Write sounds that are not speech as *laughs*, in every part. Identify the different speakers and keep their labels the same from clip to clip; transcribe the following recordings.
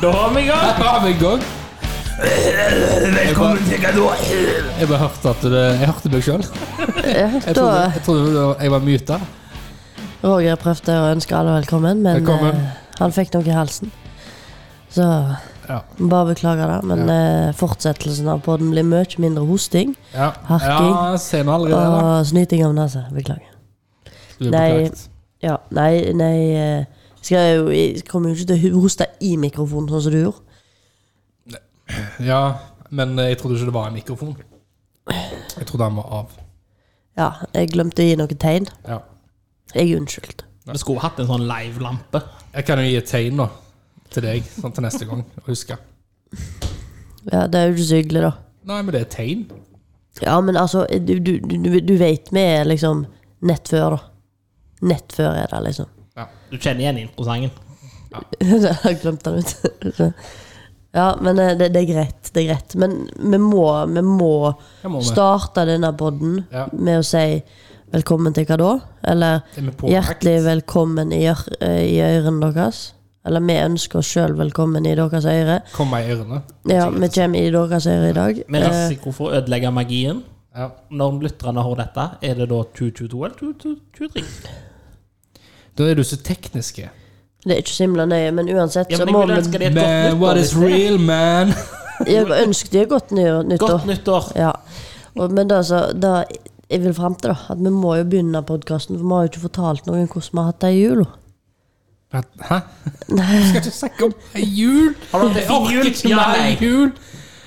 Speaker 1: Da har vi i gang!
Speaker 2: Her har vi i gang. Velkommen
Speaker 1: til Gador.
Speaker 2: Jeg bare hørte at det, jeg hørte meg sjøl. Jeg
Speaker 3: Da
Speaker 2: trodde, jeg, trodde det var- jeg var myta.
Speaker 3: Roger prøvde å ønske alle velkommen, men
Speaker 2: Velkommen.
Speaker 3: eh, han fikk noe i halsen. Så
Speaker 2: Ja.
Speaker 3: bare beklager det. Men eh, fortsettelsen av podden blir mye mindre hosting
Speaker 2: Ja,
Speaker 3: Harking.
Speaker 2: ja ser vi allerede det. da.
Speaker 3: og snyting av nesa. Beklager.
Speaker 2: Du er
Speaker 3: Nei.
Speaker 2: beklaget.
Speaker 3: Ja, nei, nei eh, skal jeg, jo, jeg kommer jo ikke til å hoste i mikrofonen, sånn som du gjorde.
Speaker 2: Ja, men eh, jeg trodde ikke det var en mikrofon. Jeg trodde han var av.
Speaker 3: Ja, jeg glemte å gi noen tegn.
Speaker 2: Ja.
Speaker 3: Jeg er unnskyldt.
Speaker 1: Vi skulle hatt en sånn live-lampe.
Speaker 2: Jeg kan jo gi et tegn da, til deg sånn til neste gang. å Huske.
Speaker 3: Ja, det er jo ikke så hyggelig, da.
Speaker 2: Nei, men det er et tegn.
Speaker 3: Ja, men altså, du, du, du, du vet vi er liksom nett før, da. Nett før er det, liksom.
Speaker 1: Du kjenner igjen introsangen.
Speaker 3: *laughs* Jeg glemte den ut. Ja, men eh, det, det er greit. Det er greit. Men vi må, vi må
Speaker 2: Jeg må med.
Speaker 3: starte denne podden
Speaker 2: Ja.
Speaker 3: med å si velkommen til hva da? Eller
Speaker 2: Det er med påpekt.
Speaker 3: hjertelig velkommen i, ør eh, i ørene deres. Eller vi ønsker oss sjøl velkommen i deres øre.
Speaker 2: Kom meg i ørene.
Speaker 3: Ja, vi kommer i deres øre i dag.
Speaker 1: Med
Speaker 3: Eh,
Speaker 1: risiko for å ødelegge magien.
Speaker 2: Ja.
Speaker 1: Når lytterne har dette, er det da 2022 eller 2023?
Speaker 2: Da er du så tekniske.
Speaker 3: Det er ikke så himla nøye, men uansett
Speaker 1: Ja,
Speaker 3: så
Speaker 1: men
Speaker 3: må
Speaker 1: jeg vil ønske
Speaker 3: vi
Speaker 1: det et godt
Speaker 2: Man,
Speaker 1: nyttår.
Speaker 2: what
Speaker 1: hvis
Speaker 2: is
Speaker 1: det er.
Speaker 2: real, man?
Speaker 3: Jeg ønsker de godt nyår- nyttår.
Speaker 1: Godt nyttår.
Speaker 3: Ja. Og, men det, altså, det jeg vil frem til, da, at vi må jo begynne podkasten, for vi har jo ikke fortalt noen hvordan vi har hatt det i jula.
Speaker 2: Hæ? Du skal ikke snakke om ei jul!
Speaker 1: Har du hatt en fin jul? Ja, nei.
Speaker 3: *laughs*
Speaker 2: jul!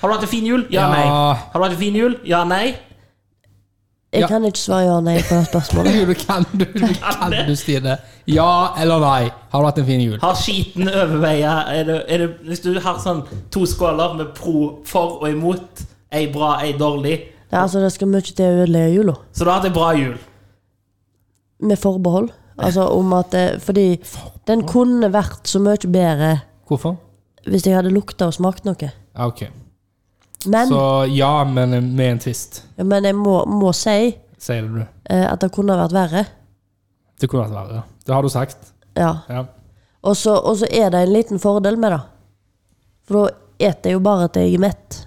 Speaker 1: Har du hatt en fin jul? Ja,
Speaker 2: Ja.
Speaker 1: nei. Har du hatt en fin jul? Ja, nei.
Speaker 3: Jeg
Speaker 2: Ja.
Speaker 3: kan ikke svare ja nei på det spørsmålet.
Speaker 2: *laughs* Jul kan du, du kan du, Stine. Ja eller nei? Har du hatt en fin jul?
Speaker 1: Har skiten overveia er det, er det, Hvis du har sånn to skåler med pro for og imot, ei bra, ei dårlig,
Speaker 3: Det, er altså, det skal mye til å ødelegge jula,
Speaker 1: så du har hatt ei bra jul.
Speaker 3: med forbehold. Altså om at det, Fordi den kunne vært så mye bedre
Speaker 2: Hvorfor?
Speaker 3: hvis jeg hadde lukta og smakt noe.
Speaker 2: Ja, ok.
Speaker 3: Men,
Speaker 2: Så ja, men eh, med en twist,
Speaker 3: ja, men jeg må, må si eh,
Speaker 2: sier du.
Speaker 3: at det kunne vært verre.
Speaker 2: Det kunne vært verre. Det har du sagt.
Speaker 3: Ja.
Speaker 2: Ja.
Speaker 3: Og så, og så er det en liten fordel med det. For da eter jeg jo bare til jeg er mett.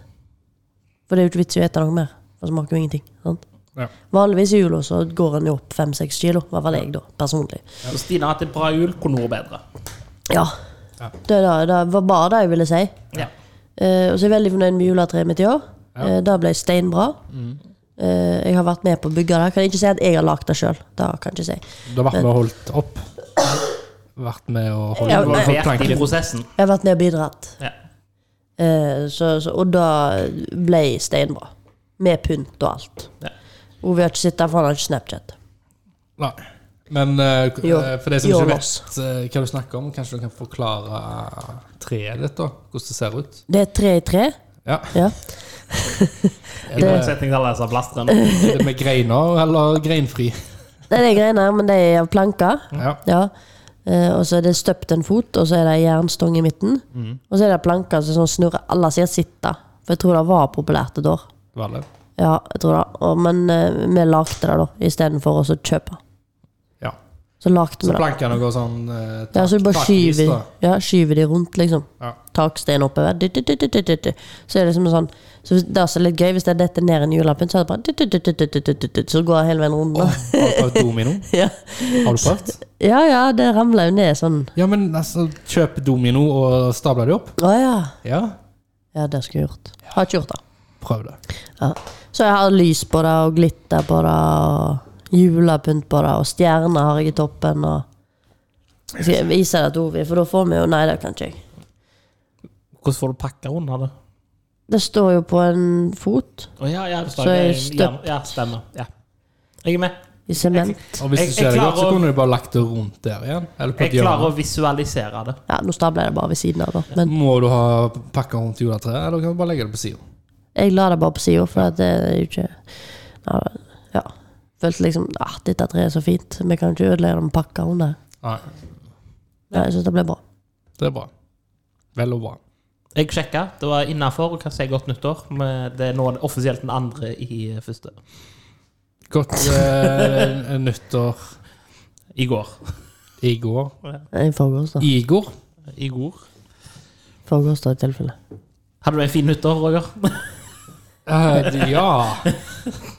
Speaker 3: For det er jo ikke vits i å ete noe mer. For det smaker jo ingenting. Sant?
Speaker 2: Ja.
Speaker 3: Vanligvis i jula så går en jo opp fem-seks kilo. I hvert fall jeg, da. Personlig.
Speaker 1: Så Stine har hatt en bra jul, kunne vært bedre.
Speaker 3: Ja.
Speaker 2: Ja.
Speaker 3: Det, da- det var bare det jeg ville si.
Speaker 1: Ja.
Speaker 3: Eh, og så er jeg veldig fornøyd med juletreet mitt i år.
Speaker 2: Ja. Mm.
Speaker 3: Eh, det ble steinbra. Eh, jeg har vært med på å bygge det. Kan jeg ikke si at jeg har lagd det sjøl. Det kan jeg ikke si.
Speaker 2: Du har vært med og holdt opp. Vært med og holdt
Speaker 3: Ja,
Speaker 1: Du var
Speaker 3: men-
Speaker 1: vært i
Speaker 2: planken.
Speaker 1: prosessen.
Speaker 3: Jeg har vært med og bidratt.
Speaker 1: Ja.
Speaker 3: Eh, så, så, og da ble steinbra. Med pynt og alt.
Speaker 1: Ja.
Speaker 3: Og vi har ikke sett der, for han har ikke Snapchat.
Speaker 2: Nei. Men eh, k-
Speaker 3: Jo.
Speaker 2: eh, for de som
Speaker 3: Jo,
Speaker 2: ikke vet
Speaker 3: Lars.
Speaker 2: eh, hva du snakker om, kanskje du kan forklare treet ditt, da? Hvordan det ser ut?
Speaker 3: Det er tre i tre.
Speaker 2: Ja.
Speaker 3: Ja.
Speaker 2: Er
Speaker 1: I
Speaker 2: det,
Speaker 1: motsetning til alle disse plastrene.
Speaker 2: er det med greiner eller
Speaker 1: *laughs*
Speaker 2: greinfri?
Speaker 3: Nei, det er greiene, men det er av planker.
Speaker 2: Ja.
Speaker 3: Ja. Eh, og så er det støpt en fot, og så er det en jernstong i midten. Og så er det planker som sånn snurrer alle sider sitte. For jeg tror det var populært et år.
Speaker 2: Var det?
Speaker 3: Ja, jeg tror det. Og, men eh, vi lagde det da, istedenfor å så kjøpe.
Speaker 2: Ja.
Speaker 3: Så lagde vi
Speaker 2: Så
Speaker 3: det.
Speaker 2: plankene går sånn eh,
Speaker 3: Ja, så du bare
Speaker 2: takvis,
Speaker 3: skyver,
Speaker 2: da.
Speaker 3: ja, skyver de rundt, liksom.
Speaker 2: Ja.
Speaker 3: Takstein oppover. Dytt, dytt, dytt, dytt, dytt, dytt. Så er det liksom sånn Så hvis- det er også litt gøy hvis det detter ned en julepynt, så er det bare dytt, dytt, dytt, dytt, dytt, dytt, dytt, dytt, Så går det hele veien rundt. da.
Speaker 2: Har du prøvd
Speaker 1: *laughs*
Speaker 2: domino?
Speaker 3: *laughs* Ja.
Speaker 2: Har du prøvd?
Speaker 3: ja ja, det ramler jo ned sånn.
Speaker 2: Ja, men altså, kjøp domino og stabler det opp.
Speaker 3: Å ja.
Speaker 2: Ja,
Speaker 3: Ja, det skulle jeg gjort. Har ikke gjort det.
Speaker 2: prøv det.
Speaker 3: Ja. Så jeg har lys på det, og glitter på det, og julepynt på det, og stjerner har jeg i toppen, og Skal jeg vise deg til Ovi, for da får vi jo Nei, det kan ikke jeg.
Speaker 1: Hvordan får du pakka under det?
Speaker 3: Det står jo på en fot
Speaker 1: Å ja, ja, det
Speaker 3: Så
Speaker 1: jeg,
Speaker 3: jeg
Speaker 1: ja, ja, stemmer. Ja. Jeg er med.
Speaker 3: i sement.
Speaker 2: Og hvis
Speaker 1: Jeg-
Speaker 2: du ser
Speaker 1: jeg
Speaker 2: det godt, så
Speaker 1: klarer å-
Speaker 2: kunne du bare lagt det rundt der igjen. Eller på
Speaker 1: Jeg
Speaker 2: et hjørne.
Speaker 1: klarer å visualisere det.
Speaker 3: Ja, nå stabler jeg det bare ved siden av, da. Men
Speaker 2: Må du ha pakka rundt juletreet, eller kan du bare legge det på sida?
Speaker 3: jeg la det bare på sida, for at det er jo ikke Ja. ja. Følte liksom ah, dette treet er så fint, vi kan ikke ødelegge det med pakker under.
Speaker 2: Nei,
Speaker 3: Ja, jeg syns det ble bra.
Speaker 2: det er bra. Vel og bra.
Speaker 1: Jeg sjekka, det var innafor. Kan si godt nyttår. Men det er nå offisielt den andre i eh, første.
Speaker 2: Godt
Speaker 1: *laughs*
Speaker 2: eh, nyttår
Speaker 1: I går.
Speaker 2: i går.
Speaker 3: I forgårs, da.
Speaker 2: Igor.
Speaker 1: I går.
Speaker 3: frokost, da, i tilfelle.
Speaker 1: Hadde du en fin nyttår, Roger?
Speaker 3: *laughs*
Speaker 2: Eh, ja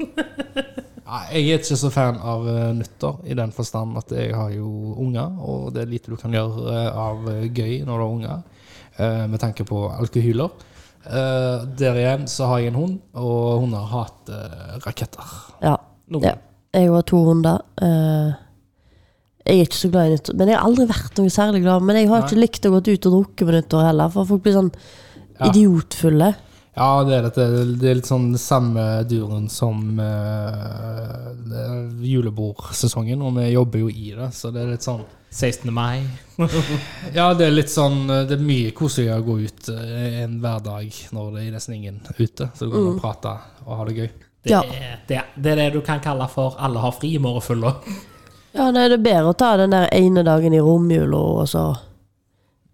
Speaker 2: Nei, Jeg er ikke så fan av eh, nytter, i den forstand at jeg har jo unger, og det er lite du kan gjøre eh, av eh, gøy når du har unger, eh, med tanke på alkohyler. Eh, der igjen så har jeg en hund, og hunder hater eh, raketter.
Speaker 3: Ja.
Speaker 1: Noen.
Speaker 3: ja. Jeg var to hunder. eh, jeg er ikke så glad i nyttår. Men jeg har aldri vært noe særlig glad. Men jeg har ikke likt å gå ut og drukke på nyttår heller, for folk blir sånn
Speaker 2: Ja.
Speaker 3: idiotfulle.
Speaker 2: Ja, det er, dette, det er litt sånn det samme duren som eh, det- julebordsesongen, og vi jobber jo i det, så det er litt sånn
Speaker 1: 16. mai.
Speaker 2: Ja, det er litt sånn Det er mye koseligere å gå ut eh, en hverdag når det er nesten ingen ute. Så du kan mm. prate og ha det gøy.
Speaker 1: Det,
Speaker 3: Ja.
Speaker 1: er, det, er- det er det du kan kalle for 'alle har fri i morgen full'. og-
Speaker 3: Ja, nei, det er bedre å ta den der ene dagen i romjula, og så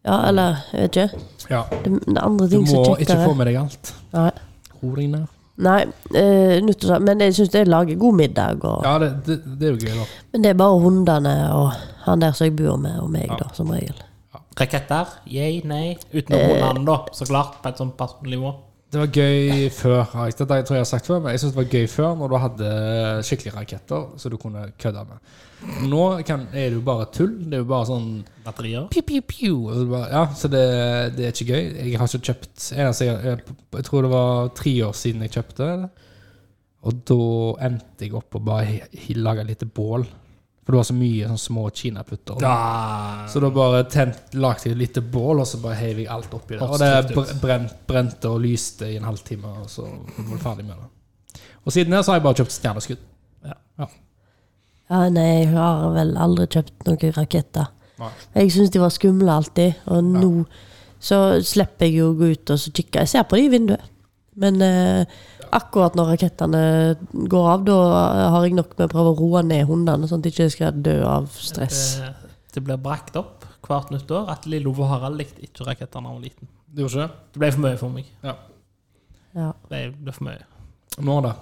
Speaker 3: Ja, eller jeg vet ikke.
Speaker 2: Ja.
Speaker 3: Det, det er andre
Speaker 2: Du
Speaker 3: ting
Speaker 2: må
Speaker 3: som
Speaker 2: ikke få
Speaker 3: kjekkere.
Speaker 2: med deg alt.
Speaker 3: Nei,
Speaker 2: Ro deg ned.
Speaker 3: nei eh, nyttårsaften- men jeg syns jeg lager god middag. Og,
Speaker 2: Ja, det, det, det er jo gøy, da.
Speaker 3: Men det er bare hundene og han der som jeg bor med, og meg, da, som regel.
Speaker 1: Raketter? Yay, nei?
Speaker 3: Eh.
Speaker 1: Utenom hundene, da. Så klart, på et sånn personlig nivå.
Speaker 2: Det var gøy før. har jeg- Dette tror jeg jeg har sagt før, men jeg synes det var gøy før når du hadde skikkelige raketter som du kunne kødde med. Nå kan, er det jo bare tull. Det er jo bare sånn
Speaker 1: Batterier.
Speaker 2: Piu, piu, piu. Og så bare, ja, så det, det er ikke gøy. Jeg har ikke kjøpt eneste jeg, jeg, jeg tror det var tre år siden jeg kjøpte det. Og da endte jeg opp og bare he- he- lage et lite bål. For det var så mye sånn små kinaputter.
Speaker 1: Da.
Speaker 2: Så da bare tent, lagde jeg et lite bål, og så bare heiv jeg alt oppi det. Og det
Speaker 1: Hotstrip,
Speaker 2: br- brent, brente og lyste i en halvtime, og så var jeg ferdig med det. Og siden det så har jeg bare kjøpt stjerneskudd.
Speaker 1: Ja.
Speaker 3: Ja, nei, jeg har vel aldri kjøpt noen raketter.
Speaker 2: Nei.
Speaker 3: Jeg syns de var skumle alltid, og nå så slipper jeg jo å gå ut og så kikke. Jeg ser på de i vinduet. Men eh, akkurat når rakettene går av, da har jeg nok med å prøve å roe ned hundene, sånn at de ikke skal dø av stress.
Speaker 1: Det, Eh, det blir brakt opp hvert nyttår at lille Ove Harald likte ikke raketter da han var liten.
Speaker 2: Du gjorde ikke det?
Speaker 1: Det ble for mye for meg.
Speaker 2: Ja.
Speaker 3: Ja.
Speaker 1: Det ble for mye.
Speaker 2: Nå da.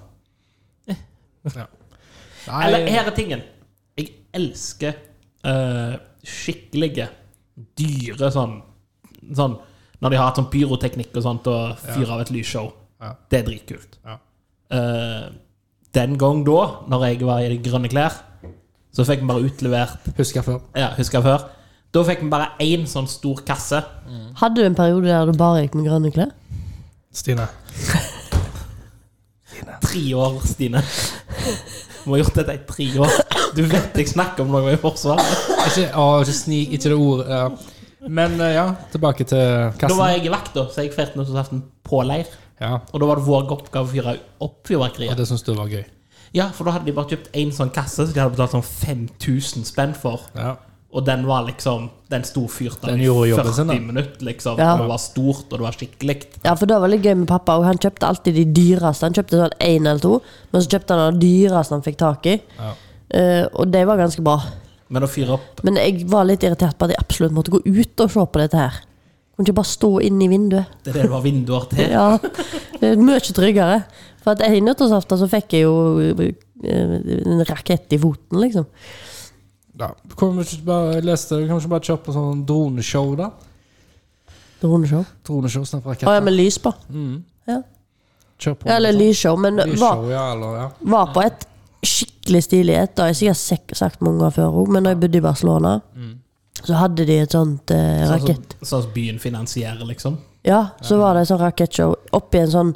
Speaker 2: Ja. Nei,
Speaker 1: Eh. Eller her er tingen. Jeg elsker eh, skikkelige, dyre sånn, sånn Når de har hatt sånn pyroteknikk og sånt og fyrer av et lysshow.
Speaker 2: Ja.
Speaker 1: Det er dritkult.
Speaker 2: Ja.
Speaker 1: Eh, den gang da, når jeg var i de grønne klær, så fikk vi bare utlevert
Speaker 2: Husker jeg før.
Speaker 1: Ja, husker jeg før. Da fikk vi bare én sånn stor kasse.
Speaker 3: Hadde du en periode der du bare gikk med grønne klær?
Speaker 2: Stine.
Speaker 1: Tre år, Stine. Vi har gjort dette i tre år. Du vet jeg snakker om noe i Forsvaret.
Speaker 2: Ikke, å, ikke snik, ikke det ordet. Ja. Men eh, ja, tilbake til
Speaker 1: Da
Speaker 2: kassen.
Speaker 1: var jeg i vakt, da, så jeg feirte nyttårsaften på leir.
Speaker 2: Ja,
Speaker 1: Og da var det vår oppgave å fyre opp
Speaker 2: og
Speaker 1: fyrverkeriet.
Speaker 2: det syns du var gøy.
Speaker 1: Ja, for da hadde de bare kjøpt én sånn kasse, så de hadde betalt sånn 5000 spenn for.
Speaker 2: Ja.
Speaker 1: Og den var liksom Den sto fyrt av
Speaker 2: Den
Speaker 1: i
Speaker 2: gjorde jobben sin, da.
Speaker 1: 40 minutter, liksom.
Speaker 3: Ja.
Speaker 1: Og det var stort, og det var skikkelig.
Speaker 3: Ja, for det var litt gøy med pappa, og han kjøpte alltid de dyreste. Han kjøpte sånn én eller to, men så kjøpte han de dyreste han fikk tak i.
Speaker 2: Ja.
Speaker 3: Eh, og det var ganske bra.
Speaker 1: Men å fyre opp
Speaker 3: Men jeg var litt irritert på at jeg absolutt måtte gå ut og se på dette her. Kunne ikke bare stå inn i vinduet.
Speaker 1: det er det det var vinduer til
Speaker 3: Ja, det er mye tryggere. For at en nyttårsaften så fikk jeg jo eh, en rakett i foten, liksom.
Speaker 2: Ja. Kan vi ikke bare, jeg leste, kan vi ikke bare kjøpe sånn droneshow, da?
Speaker 3: Droneshow.
Speaker 2: Droneshow snart
Speaker 3: Å ja,
Speaker 2: raketter.
Speaker 3: med lys på. Ja.
Speaker 2: Kjør på. Sånn
Speaker 3: Ja, eller lysshow, men var,
Speaker 2: Lysshow, ja, eller, ja.
Speaker 3: var på et skikkelig stilig et. Det har jeg sikkert sek- sagt mange ganger før òg, men når jeg bodde i Barcelona, så hadde de et sånt eh,
Speaker 1: Mm. Sånn
Speaker 3: rakett...
Speaker 1: som sånn som byen finansierer, liksom.
Speaker 3: Ja, så var det en sånn rakettshow oppi en sånn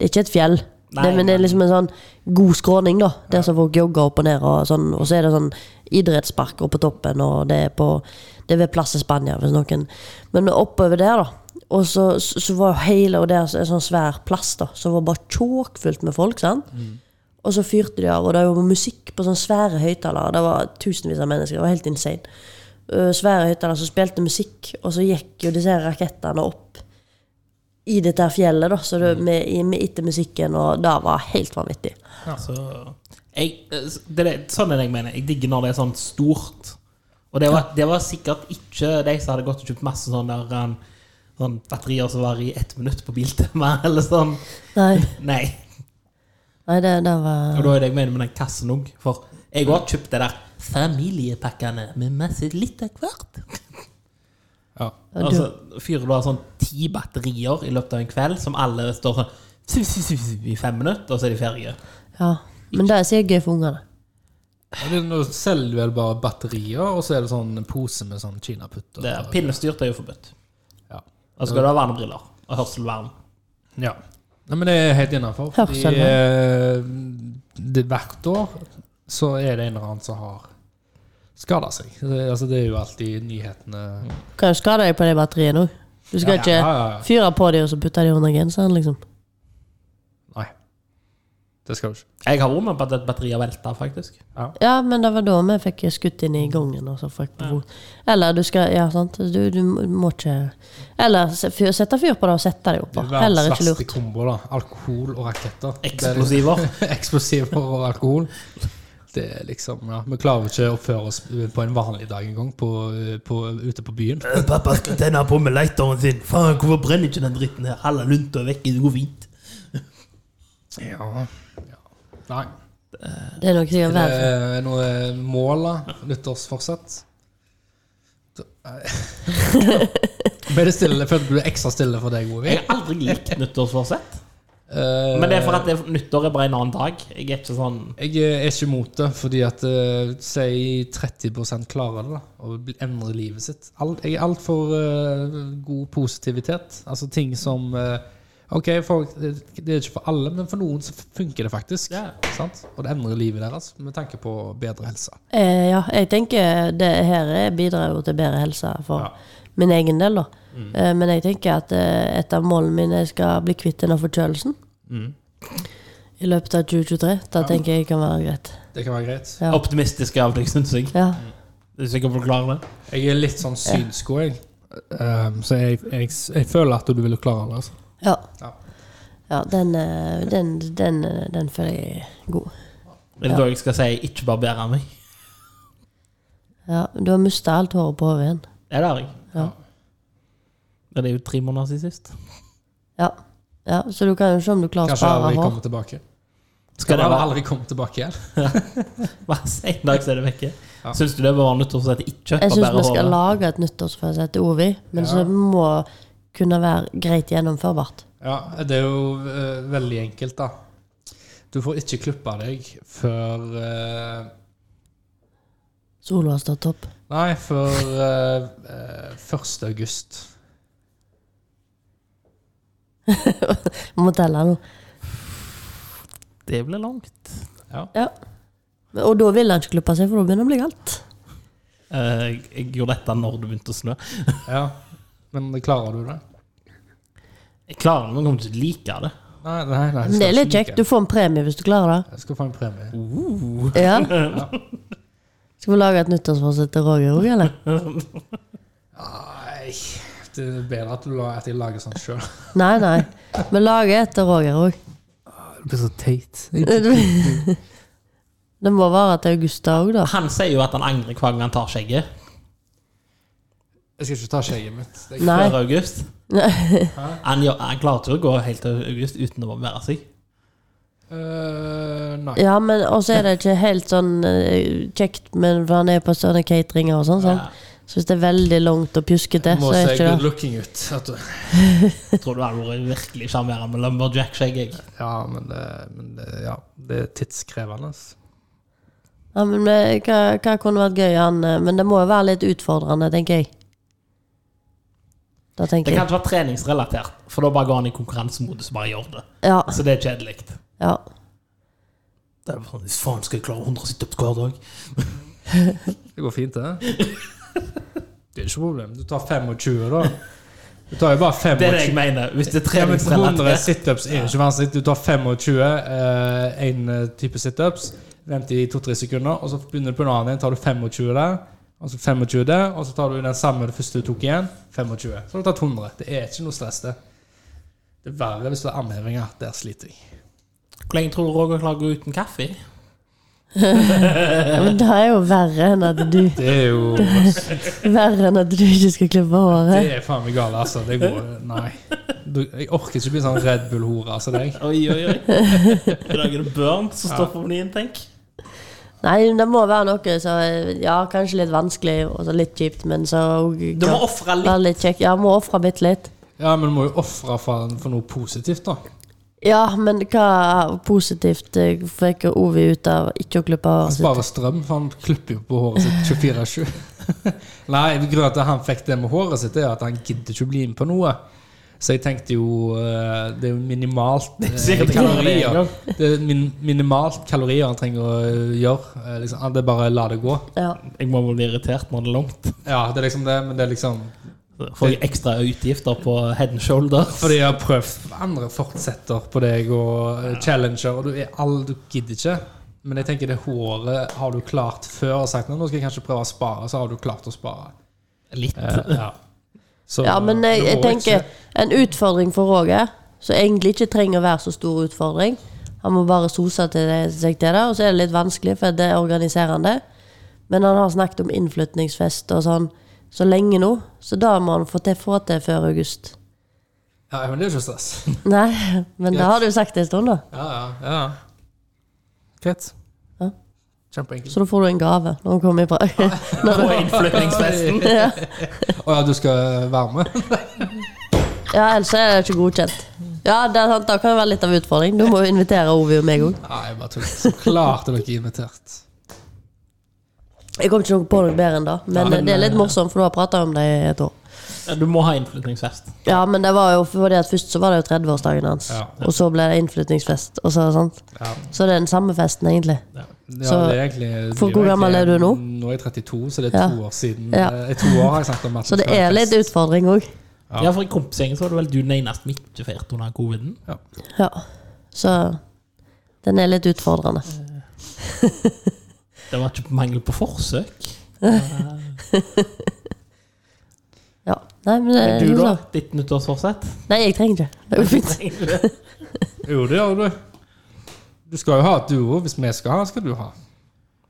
Speaker 3: Det er ikke et fjell,
Speaker 1: Nei,
Speaker 3: det, men det er
Speaker 1: nei.
Speaker 3: liksom en sånn god skråning, da. Der som folk jogger opp og ned, og sånn. Og så er det sånn idrettspark oppe på toppen, og det er på Det er ved Plass i Spania, hvis noen Men oppover der, da. Og så, så var jo hele og der så er det sånn svær plass, da, som var bare tjåkfullt med folk, sant.
Speaker 1: Mm.
Speaker 3: Og så fyrte de av, og det var musikk på sånne svære høyttalere. Det var tusenvis av mennesker. Det var helt insane. Øh, svære høyttalere som spilte musikk, og så gikk jo disse her rakettene opp i dette her fjellet, da, så det,
Speaker 2: Mm.
Speaker 3: med, i- med etter musikken, og det var helt vanvittig.
Speaker 1: Så jeg, det er, det- sånn er det jeg mener. Jeg digger når det er sånn stort. Og det var, det var sikkert ikke de som hadde gått og kjøpt masse sånn der um, sånn batterier som var i ett minutt på Biltema, *laughs* eller sånn.
Speaker 3: Nei,
Speaker 1: Nei.
Speaker 3: nei det, det var
Speaker 1: Og da er det jeg mener med den kassen òg. For jeg har kjøpt det der familiepakkene med masse litt av hvert.
Speaker 2: Ja.
Speaker 3: Ja, du-
Speaker 1: Altså, fyrer du av sånn ti batterier i løpet av en kveld, som alle står sånn su, su, su, su, i fem minutter, og så er de ferdige.
Speaker 3: Ja. Men det er sikkert gøy for ungene.
Speaker 2: Men det- Nå selger du vel bare batterier, og så er det sånn en pose med sånn kinaputter.
Speaker 1: Det, pinnestyrt er jo forbudt.
Speaker 2: Ja.
Speaker 1: Og så skal du ha vernebriller og hørselvern.
Speaker 2: Ja. Nei, men det er helt innafor. Fordi
Speaker 3: Hørselvern.
Speaker 2: eh, det, hvert år så er det en eller annen som har skada seg. Det, altså, det er jo alltid nyhetene
Speaker 3: Kan jo skade deg på de batteriene òg. Du skal
Speaker 2: Ja, ja, ja, ja.
Speaker 3: ikke fyre på de og så putte de under genseren, liksom.
Speaker 2: Nei. Det skal du ikke.
Speaker 1: Jeg har vært med på at et batteri har velta, faktisk.
Speaker 3: Ja, men det var da vi fikk skutt inn i gangen. Og så fikk på fot. Eller du skal Ja, sant. Du, du må ikke Eller se- fyr- sette fyr på det og sette det oppå.
Speaker 2: Det er
Speaker 3: Heller
Speaker 2: verdens
Speaker 3: ikke
Speaker 2: verste
Speaker 3: lurt.
Speaker 2: kombo, da. Alkohol og raketter. Det er
Speaker 1: *laughs* Eksplosiver.
Speaker 2: liksom- *laughs* Eksplosiver og alkohol. Det er liksom, ja, Vi klarer ikke å oppføre oss på en vanlig dag engang på, på, ute på byen.
Speaker 1: *laughs* Pappa skal tenne på med lighteren sin. Faen, hvorfor brenner ikke den dritten her? Alle lunter vekk, det går fint.
Speaker 2: Ja. ja. Nei.
Speaker 3: Det er nok sikkert
Speaker 2: Det
Speaker 3: verre.
Speaker 2: er noe mål, da. Nyttårsforsett. Da- Ble det stille? Følte du det ekstra stille for deg, Ovi?
Speaker 1: Jeg har aldri likt nyttårsforsett. Men det er for at det, nyttår er bare en annen dag. Jeg er ikke sånn
Speaker 2: Eh, Jeg er ikke imot det, fordi at eh, si 30 klarer det, da, og bli- endrer livet sitt. Alt, jeg er altfor uh, god positivitet. Altså ting som eh, Ok, folk, det det er ikke for alle, men for noen så funker det faktisk.
Speaker 1: Ja.
Speaker 2: Sant? Og det endrer livet deres med tanke på bedre helse.
Speaker 3: Eh, ja, jeg tenker det her er- bidrar jo til bedre helse for
Speaker 2: Ja. Mm.
Speaker 3: min egen del, da. Eh, men jeg tenker at eh, et av målene mine skal bli kvitt denne forkjølelsen.
Speaker 2: Mm.
Speaker 3: I løpet av 2023. Da tenker jeg kan være greit.
Speaker 2: Det kan være greit.
Speaker 3: Ja.
Speaker 1: optimistisk av deg, syns jeg.
Speaker 3: Ja.
Speaker 2: Mm.
Speaker 1: Du er sikker på å klare det?
Speaker 2: Jeg er litt sånn synsko, jeg. Um, så jeg, jeg, jeg føler at du ville klare det. Altså.
Speaker 3: Ja.
Speaker 2: Ja.
Speaker 3: ja den, eh, den, den, eh, den føler jeg er god.
Speaker 1: Er det da jeg skal si 'ikke barbere meg'?
Speaker 3: Ja, du har mista alt håret på hodet igjen.
Speaker 1: Ja, det har jeg.
Speaker 3: Ja.
Speaker 1: Men det er jo tre måneder siden sist.
Speaker 3: Ja. ja, så du kan jo se om du klarer å
Speaker 2: Kanskje
Speaker 3: spare
Speaker 2: aldri
Speaker 3: hår.
Speaker 2: komme tilbake.
Speaker 1: Skal det
Speaker 2: Kanskje
Speaker 1: være
Speaker 2: aldri komme tilbake igjen?
Speaker 1: hver sen dag, så er det vekke?
Speaker 2: Ja.
Speaker 1: Syns du det bør være nyttårsforsett ikke
Speaker 3: Jeg syns
Speaker 1: barbere
Speaker 3: vi skal
Speaker 1: håret?
Speaker 3: lage et nyttårsforsett til Ovi, men
Speaker 2: Ja.
Speaker 3: så må kunne være greit gjennomførbart.
Speaker 2: Ja, det er jo eh, veldig enkelt, da. Du får ikke klippe deg før eh,
Speaker 3: Sola har stått opp.
Speaker 2: Nei, før eh, eh, 1. august.
Speaker 3: Jeg må telle nå.
Speaker 1: Det blir langt.
Speaker 3: Ja. Men- Og da vil han ikke klippe seg, for da begynner det å bli galt.
Speaker 1: Eh, jeg, jeg gjorde dette når det begynte å snø.
Speaker 2: Ja. Men klarer du det?
Speaker 1: Jeg klarer det, men kommer ikke til å like det.
Speaker 2: Nei, nei. nei
Speaker 3: Men det er litt kjekt. Du får en premie hvis du klarer
Speaker 2: Jeg skal få en premie.
Speaker 3: det. Ja. Skal vi lage et nyttårsforsett til Roger òg, eller?
Speaker 2: Nei, det er bedre at, du, la- at jeg lager sånn sjøl.
Speaker 3: Nei, nei. Vi lager et til Roger òg.
Speaker 2: Det blir så teit.
Speaker 3: Det må være til Augusta òg, da.
Speaker 1: Han sier jo at han angrer hver gang han tar skjegget.
Speaker 2: Jeg skal ikke ta skjegget mitt. Det er
Speaker 3: Nei.
Speaker 1: Før august.
Speaker 3: *laughs*
Speaker 1: Han, gjør- han klarer ikke å gå helt til august uten å barbere seg.
Speaker 2: Eh, nei.
Speaker 3: Ja, men også er det ikke helt sånn eh, kjekt, men for han er på sånne cateringer og sånn.
Speaker 1: Eh,
Speaker 3: sant? Så hvis det er veldig langt og pjuskete,
Speaker 2: Må
Speaker 3: så er
Speaker 2: se
Speaker 3: ikke
Speaker 2: good
Speaker 3: det
Speaker 2: looking ut. vet du.
Speaker 1: Jeg tror du hadde vært virkelig sjarmerende med lumberjack-skjegg. jeg.
Speaker 2: Ja, men, det, men det, ja, det er tidskrevende. ass.
Speaker 3: ja, men eh, hva, hva kunne vært gøy, han eh, Men det må jo være litt utfordrende, tenker jeg. Da
Speaker 1: Det
Speaker 3: tenker
Speaker 1: kan
Speaker 3: jeg.
Speaker 1: ikke være treningsrelatert, for da bare går han i konkurransemodus og bare gjør det.
Speaker 3: Ja,
Speaker 1: Så det er kjedelig.
Speaker 3: ja.
Speaker 1: Det er bare sånn, Faen, skal jeg klare 100 situps hver dag?
Speaker 2: Det går fint, *laughs* det. Det er ikke noe problem. Du tar 25, da. Du tar jo bare
Speaker 1: Det er
Speaker 2: 25.
Speaker 1: det jeg mener. Hvis det er
Speaker 2: Ja, men 100
Speaker 1: treningsrelatert
Speaker 2: situps er jo ikke vanskelig. Du tar 25, én eh, type situps, venter i to-tre sekunder, og så begynner du på en annen en. Tar du 25 der, og så 25 der, og så tar du den samme det første du tok igjen. 25. Så har du tatt 100. Det er ikke noe stress, det. Det er verre hvis du har armhevinger. Der sliter jeg.
Speaker 1: Hvor lenge tror du Roger klarer å gå uten kaffe?
Speaker 3: ja men det er jo verre enn at du
Speaker 2: Det er jo
Speaker 3: Verre enn at du ikke skal klippe håret.
Speaker 2: Det er faen meg galt, altså. Det går Nei. Du, jeg orker ikke bli sånn Red Bull-hore som deg.
Speaker 1: *laughs* Oi, oi, oi. I dag er det Burn som står for menyen, tenk.
Speaker 3: Nei, det må være noe som er- Ja, kanskje litt vanskelig og så litt kjipt, men så
Speaker 1: Du må ofre litt.
Speaker 3: Være litt kjekk. Ja, må ofre bitte litt.
Speaker 2: Ja, men du må jo ofre for, for noe positivt, da.
Speaker 3: Ja, men hva positivt eh, fikk Ovi ut av ikke å klippe håret sitt?
Speaker 2: Spare strøm, for han klipper jo på håret sitt 24-7. *laughs* Nei, grunnen til at han fikk det med håret sitt, er at han gidder ikke å bli med på noe. Så jeg tenkte jo eh, Det er jo minimalt eh,
Speaker 1: sikkert kalorier.
Speaker 2: kalorier. Det er min, minimalt kalorier han trenger å gjøre. eh, Liksom, det er bare å la det gå.
Speaker 3: Ja.
Speaker 1: Jeg må vel bli irritert når det er langt.
Speaker 2: Ja, det er liksom det, men det er liksom
Speaker 1: Får jeg ekstra utgifter på head and shoulder?
Speaker 2: Fordi jeg har prøvd andre fortsetter på deg og eh, challenger, og du, er all, du gidder ikke. Men jeg tenker det håret har du klart før og sagt nå skal jeg kanskje prøve å spare, så har du klart å spare.
Speaker 1: Litt.
Speaker 2: Eh, ja. Så,
Speaker 3: ja, men jeg,
Speaker 2: du
Speaker 3: jeg
Speaker 2: må
Speaker 3: tenker
Speaker 2: ikke-
Speaker 3: en utfordring for Roger, som egentlig ikke trenger å være så stor utfordring. Han må bare sose til det, seg til det, og så er det litt vanskelig, for det er organiserende. Men han har snakket om innflytningsfest og sånn så lenge nå, så da må han få til, få til før august.
Speaker 2: Ja, men det er jo ikke stress.
Speaker 3: Nei, *laughs* men det har du sagt en stund, da.
Speaker 2: Ja, ja, ja. Greit.
Speaker 3: Ja.
Speaker 2: Kjempeenkelt.
Speaker 3: Så da får du en gave når han kommer i
Speaker 2: Ah,
Speaker 3: *laughs* Prag.
Speaker 1: På *laughs* innflytningsfesten.
Speaker 3: ja.
Speaker 2: Å ja, du skal være med? *laughs*
Speaker 3: ja, ellers er det ikke godkjent. Ja, det er sant, da kan det være litt av utfordring. Du må jo invitere Ovi og meg òg.
Speaker 2: Nei, jeg bare tuller. Så klart er dere invitert.
Speaker 3: Jeg kom ikke noe på noe bedre enn det, men,
Speaker 2: Ja, men, eh,
Speaker 3: det er litt morsomt, for du har prata om det i et år.
Speaker 1: Du må ha innflytningsfest.
Speaker 3: Ja, men det var jo fordi at først så var det jo 30-årsdagen hans,
Speaker 2: Ja.
Speaker 3: og så ble det innflytningsfest. Og så, sant?
Speaker 2: Ja.
Speaker 3: så det er den samme festen, egentlig.
Speaker 2: Ja,
Speaker 3: Så-
Speaker 2: det er egentlig, det
Speaker 3: For
Speaker 2: blir jo
Speaker 3: hvor gammel
Speaker 2: egentlig-
Speaker 3: er du nå?
Speaker 2: Nå er jeg 32, så det er
Speaker 3: Ja.
Speaker 2: to år siden.
Speaker 3: Ja.
Speaker 2: Eh, I to år har jeg snakket om at
Speaker 3: *laughs* Så
Speaker 2: vi
Speaker 3: det
Speaker 2: skal ha
Speaker 3: er litt
Speaker 2: fest.
Speaker 3: utfordring òg.
Speaker 2: Ja.
Speaker 1: Ja, for i kompisgjengen så var det vel du den eneste som ikke feirte under coviden.
Speaker 3: Ja. Så den er litt utfordrende.
Speaker 1: Det var ikke på mangel på forsøk.
Speaker 3: Ja. Nei, men det,
Speaker 1: Du,
Speaker 3: jo
Speaker 1: da?
Speaker 3: da.
Speaker 1: Ditt nyttårsforsett?
Speaker 3: Nei, jeg trenger ikke. Det går fint.
Speaker 2: Jo, det gjør du. Du skal jo ha et duo. Hvis vi skal ha, skal du ha.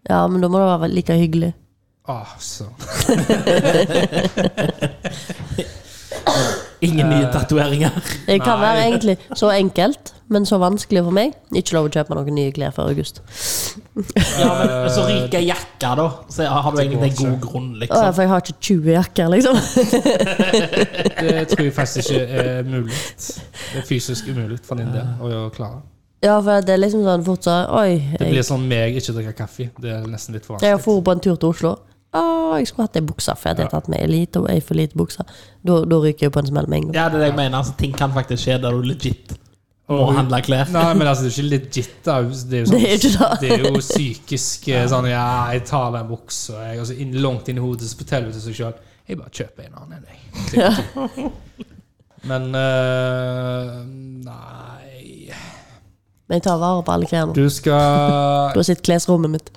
Speaker 3: Ja, men da må det være like hyggelig.
Speaker 2: Ah, så.
Speaker 1: Ingen nye tatoveringer.
Speaker 3: Det kan
Speaker 2: Nei.
Speaker 3: være egentlig så enkelt, men så vanskelig for meg. Ikke lov å kjøpe noen nye klær før august.
Speaker 1: Ja, men så ryker jakka, da. Så har du egentlig en god grunn,
Speaker 3: Å, ja,
Speaker 1: liksom.
Speaker 3: for jeg har ikke 20 jakker, liksom. *laughs*
Speaker 2: Det tror jeg faktisk ikke er mulig. Det er fysisk umulig for din del å gjøre klare.
Speaker 3: Ja, for det er liksom sånn fort så Oi.
Speaker 2: Det
Speaker 3: jeg-
Speaker 2: blir sånn meg ikke drikker kaffe. Det er nesten litt for
Speaker 3: Jeg
Speaker 2: vanskelig.
Speaker 3: for på en tur til Oslo. Å, jeg skulle hatt ei bukse, for jeg hadde tatt med ei lite og ei for lite bukse. Da, da ryker jeg på en smell med en gang.
Speaker 1: Ja, det er det jeg mener. Altså, ting kan faktisk skje der du legit må
Speaker 2: Og-
Speaker 1: handle klær.
Speaker 2: Nei, men altså, det er ikke legit. da. *laughs* Det er jo,
Speaker 3: Det er ikke
Speaker 2: sånn,
Speaker 3: det.
Speaker 2: det er jo psykisk eh, sånn Ja, jeg tar den buksa, jeg, og så inn, langt inn i hodet så forteller du til seg sjøl Jeg bare kjøper en annen enn deg. Men eh, Nei
Speaker 3: Men jeg tar vare på alle klærne.
Speaker 2: Du skal
Speaker 3: Da sitter klesrommet mitt.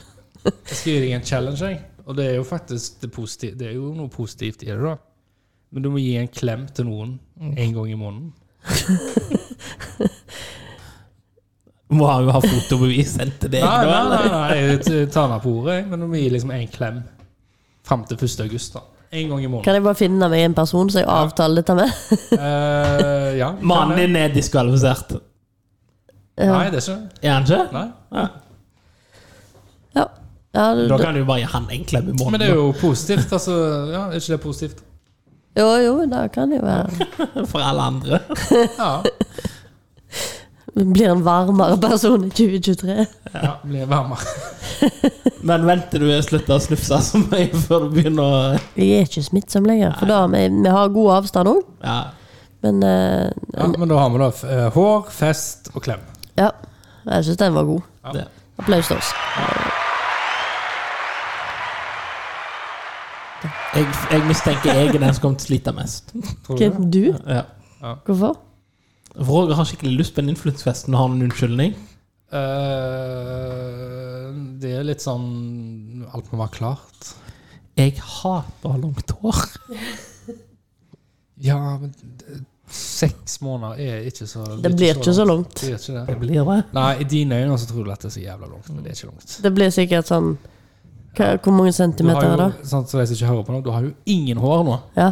Speaker 2: Jeg skal gi deg en challenge, jeg. Og det er jo faktisk det positive. Det er jo noe positivt i det, da. Men du må gi en klem til noen en gang i måneden.
Speaker 1: Må jo ha fotobevis sendt til deg,
Speaker 2: Nei,
Speaker 1: da.
Speaker 2: nei, nei,
Speaker 1: eller?
Speaker 2: nei jeg t- tar meg på ordet, jeg. men du må gi liksom en klem fram til 1. august. da. En gang i måneden.
Speaker 3: Kan jeg bare finne meg en person som jeg avtaler dette med? *laughs*
Speaker 2: Eh, ja.
Speaker 1: Mannen din er diskvalifisert.
Speaker 2: Nei, det er ikke det.
Speaker 1: Er han ikke?
Speaker 2: Nei.
Speaker 3: Ja. ja
Speaker 1: Da
Speaker 3: da,
Speaker 1: kan du jo bare gi han en klem i
Speaker 2: Men det er
Speaker 1: måneden.
Speaker 2: jo positivt. altså, ja, Er ikke det positivt?
Speaker 3: jo, jo, det kan det jo være. *laughs*
Speaker 1: For alle andre.
Speaker 2: Ja.
Speaker 3: Blir en varmere person i 2023.
Speaker 2: ja blir varmere.
Speaker 1: Men venter du slutter å snufse så mye før du begynner å
Speaker 3: Jeg er ikke smittsom lenger, for da vi, vi har god avstand òg.
Speaker 1: Ja.
Speaker 3: Men eh,
Speaker 2: Ja, men da har vi da f- eh, hår, fest og klem.
Speaker 3: ja, jeg syns den var god.
Speaker 1: Det.
Speaker 3: Applaus til oss.
Speaker 1: Jeg, jeg mistenker jeg er den som kommer til å slite mest.
Speaker 2: Tror du det?
Speaker 3: Hvem du?
Speaker 1: Ja.
Speaker 3: Hvorfor?
Speaker 1: For Roger har skikkelig lyst på en innflytelsesfest når han har en unnskyldning.
Speaker 2: Eh, det er litt sånn Alt må være klart.
Speaker 1: Jeg hater å ha langt hår.
Speaker 2: Ja, men d- seks måneder er ikke så
Speaker 3: Det blir ikke så langt.
Speaker 2: Det er ikke
Speaker 1: Det
Speaker 2: det.
Speaker 1: blir det.
Speaker 2: Nei, i dine øyne så tror du at det er så jævla langt, men det er ikke langt.
Speaker 3: Det blir sikkert sånn hva, Hvor mange
Speaker 2: Du har
Speaker 3: centimeter er
Speaker 2: jo,
Speaker 3: det?
Speaker 2: sånn, så de som ikke hører på nå, du har jo ingen hår nå.
Speaker 3: Ja.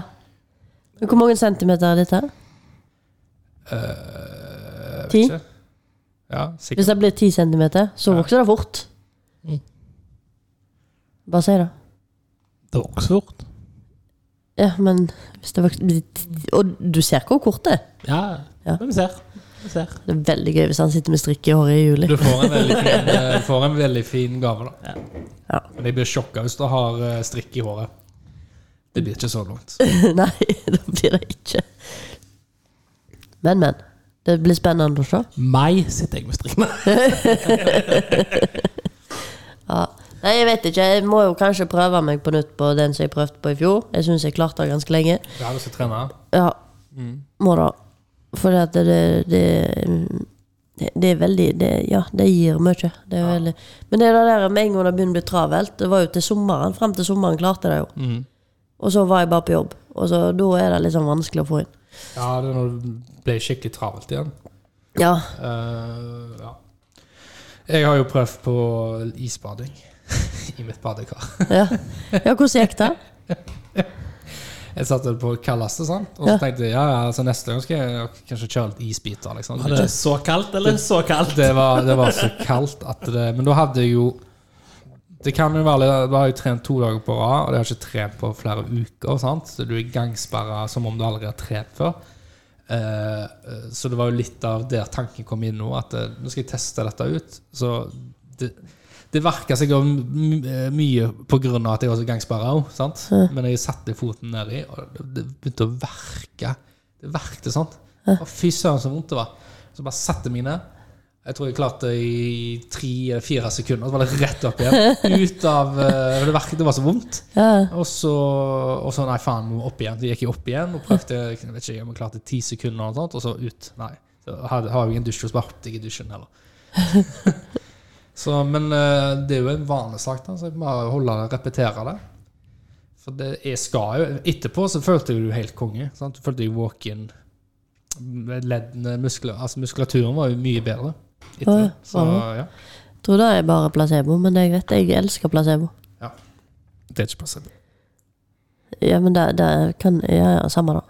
Speaker 3: Men Hvor mange centimeter er dette?
Speaker 2: Eh,
Speaker 3: Ti?
Speaker 2: vet ikke. Ja, sikkert.
Speaker 3: Hvis det blir ti centimeter, så vokser det fort. Bare si det.
Speaker 2: Det var også fort.
Speaker 3: Ja, men hvis det var Og du ser hvor kort det er.
Speaker 1: Ja,
Speaker 3: Ja.
Speaker 1: men vi ser. Vi ser.
Speaker 3: Det er veldig gøy hvis han sitter med strikk i håret i juli.
Speaker 2: Du får en veldig fin, eh, du får en veldig fin gave, da.
Speaker 3: Ja.
Speaker 2: Men jeg blir sjokka hvis du har eh, strikk i håret. Det blir ikke så
Speaker 3: *laughs*
Speaker 2: langt.
Speaker 3: *laughs* Nei, det blir det ikke. Men, men. Det blir spennende å se.
Speaker 1: Mai sitter jeg med strikkene.
Speaker 3: Ja. Nei, jeg vet ikke. Jeg må jo kanskje prøve meg på nytt på den som jeg prøvde på i fjor. Jeg syns jeg klarte det ganske lenge.
Speaker 2: Jeg har lyst til å trene.
Speaker 3: Ja, må da. Fordi at det det, det, det er veldig det, Ja, det gir mye. Det er veldig. Men det er det der med en gang det begynner å bli travelt Det var jo til sommeren. Fram til sommeren klarte jeg det jo. Og så var jeg bare på jobb. Og så da er det liksom vanskelig å få inn.
Speaker 2: Ja, det er når det ble skikkelig travelt igjen.
Speaker 3: Ja,
Speaker 2: Eh, ja. Jeg har jo prøvd på isbading *laughs* i mitt badekar.
Speaker 3: ja. ja hvordan gikk det?
Speaker 2: Jeg satte det på kaldeste, sant? og så
Speaker 3: Ja.
Speaker 2: tenkte jeg ja, ja, altså neste gang skal jeg kanskje kjøre litt isbiter. liksom.
Speaker 1: Var det så kaldt, eller så kaldt?
Speaker 2: Det var, det var så kaldt at det Men da hadde jeg jo Det kan jo være litt- Da har jeg trent to dager på rad, og det har jeg ikke trent på flere uker. sant? Så du er gangsperra som om du allerede har trent før. Eh, eh, så det var jo litt av der tanken kom inn nå, at eh, nå skal jeg teste dette ut. Så det, det verka seg om m- eh, mye på grunn av at jeg var så gangsperra òg, sant. Men jeg satte foten nedi, og det- det begynte å verke. Det verkte sånn. Å, Fy søren, så vondt det var. Så bare satte jeg meg ned. Jeg tror jeg klarte det i tre eller fire sekunder, så var det rett opp igjen. Ut av eh, Det verket det var så vondt.
Speaker 3: Ja.
Speaker 2: Og så, og så nei, faen, må opp igjen. Så gikk jeg opp igjen og prøvde jeg vet ikke om jeg klarte ti sekunder, og, sånt, og så ut. Nei. Så hadde, har jeg ingen dusj, og så bare hoppet jeg i dusjen heller. *laughs* så, men eh, det er jo en vanesak, da, så jeg må bare holde det, repetere det. For det jeg skal jo Etterpå så følte jeg jo helt konge. Sant? Du følte jeg walk-in. Leddene, muskler, altså muskulaturen var jo mye bedre. Etter,
Speaker 3: Å,
Speaker 2: det. så
Speaker 3: ja.
Speaker 2: ja.
Speaker 3: Tror det er bare placebo, men jeg vet jeg elsker placebo.
Speaker 2: Det er ikke passende.
Speaker 3: Ja, men det, det kan Ja, ja, samme da.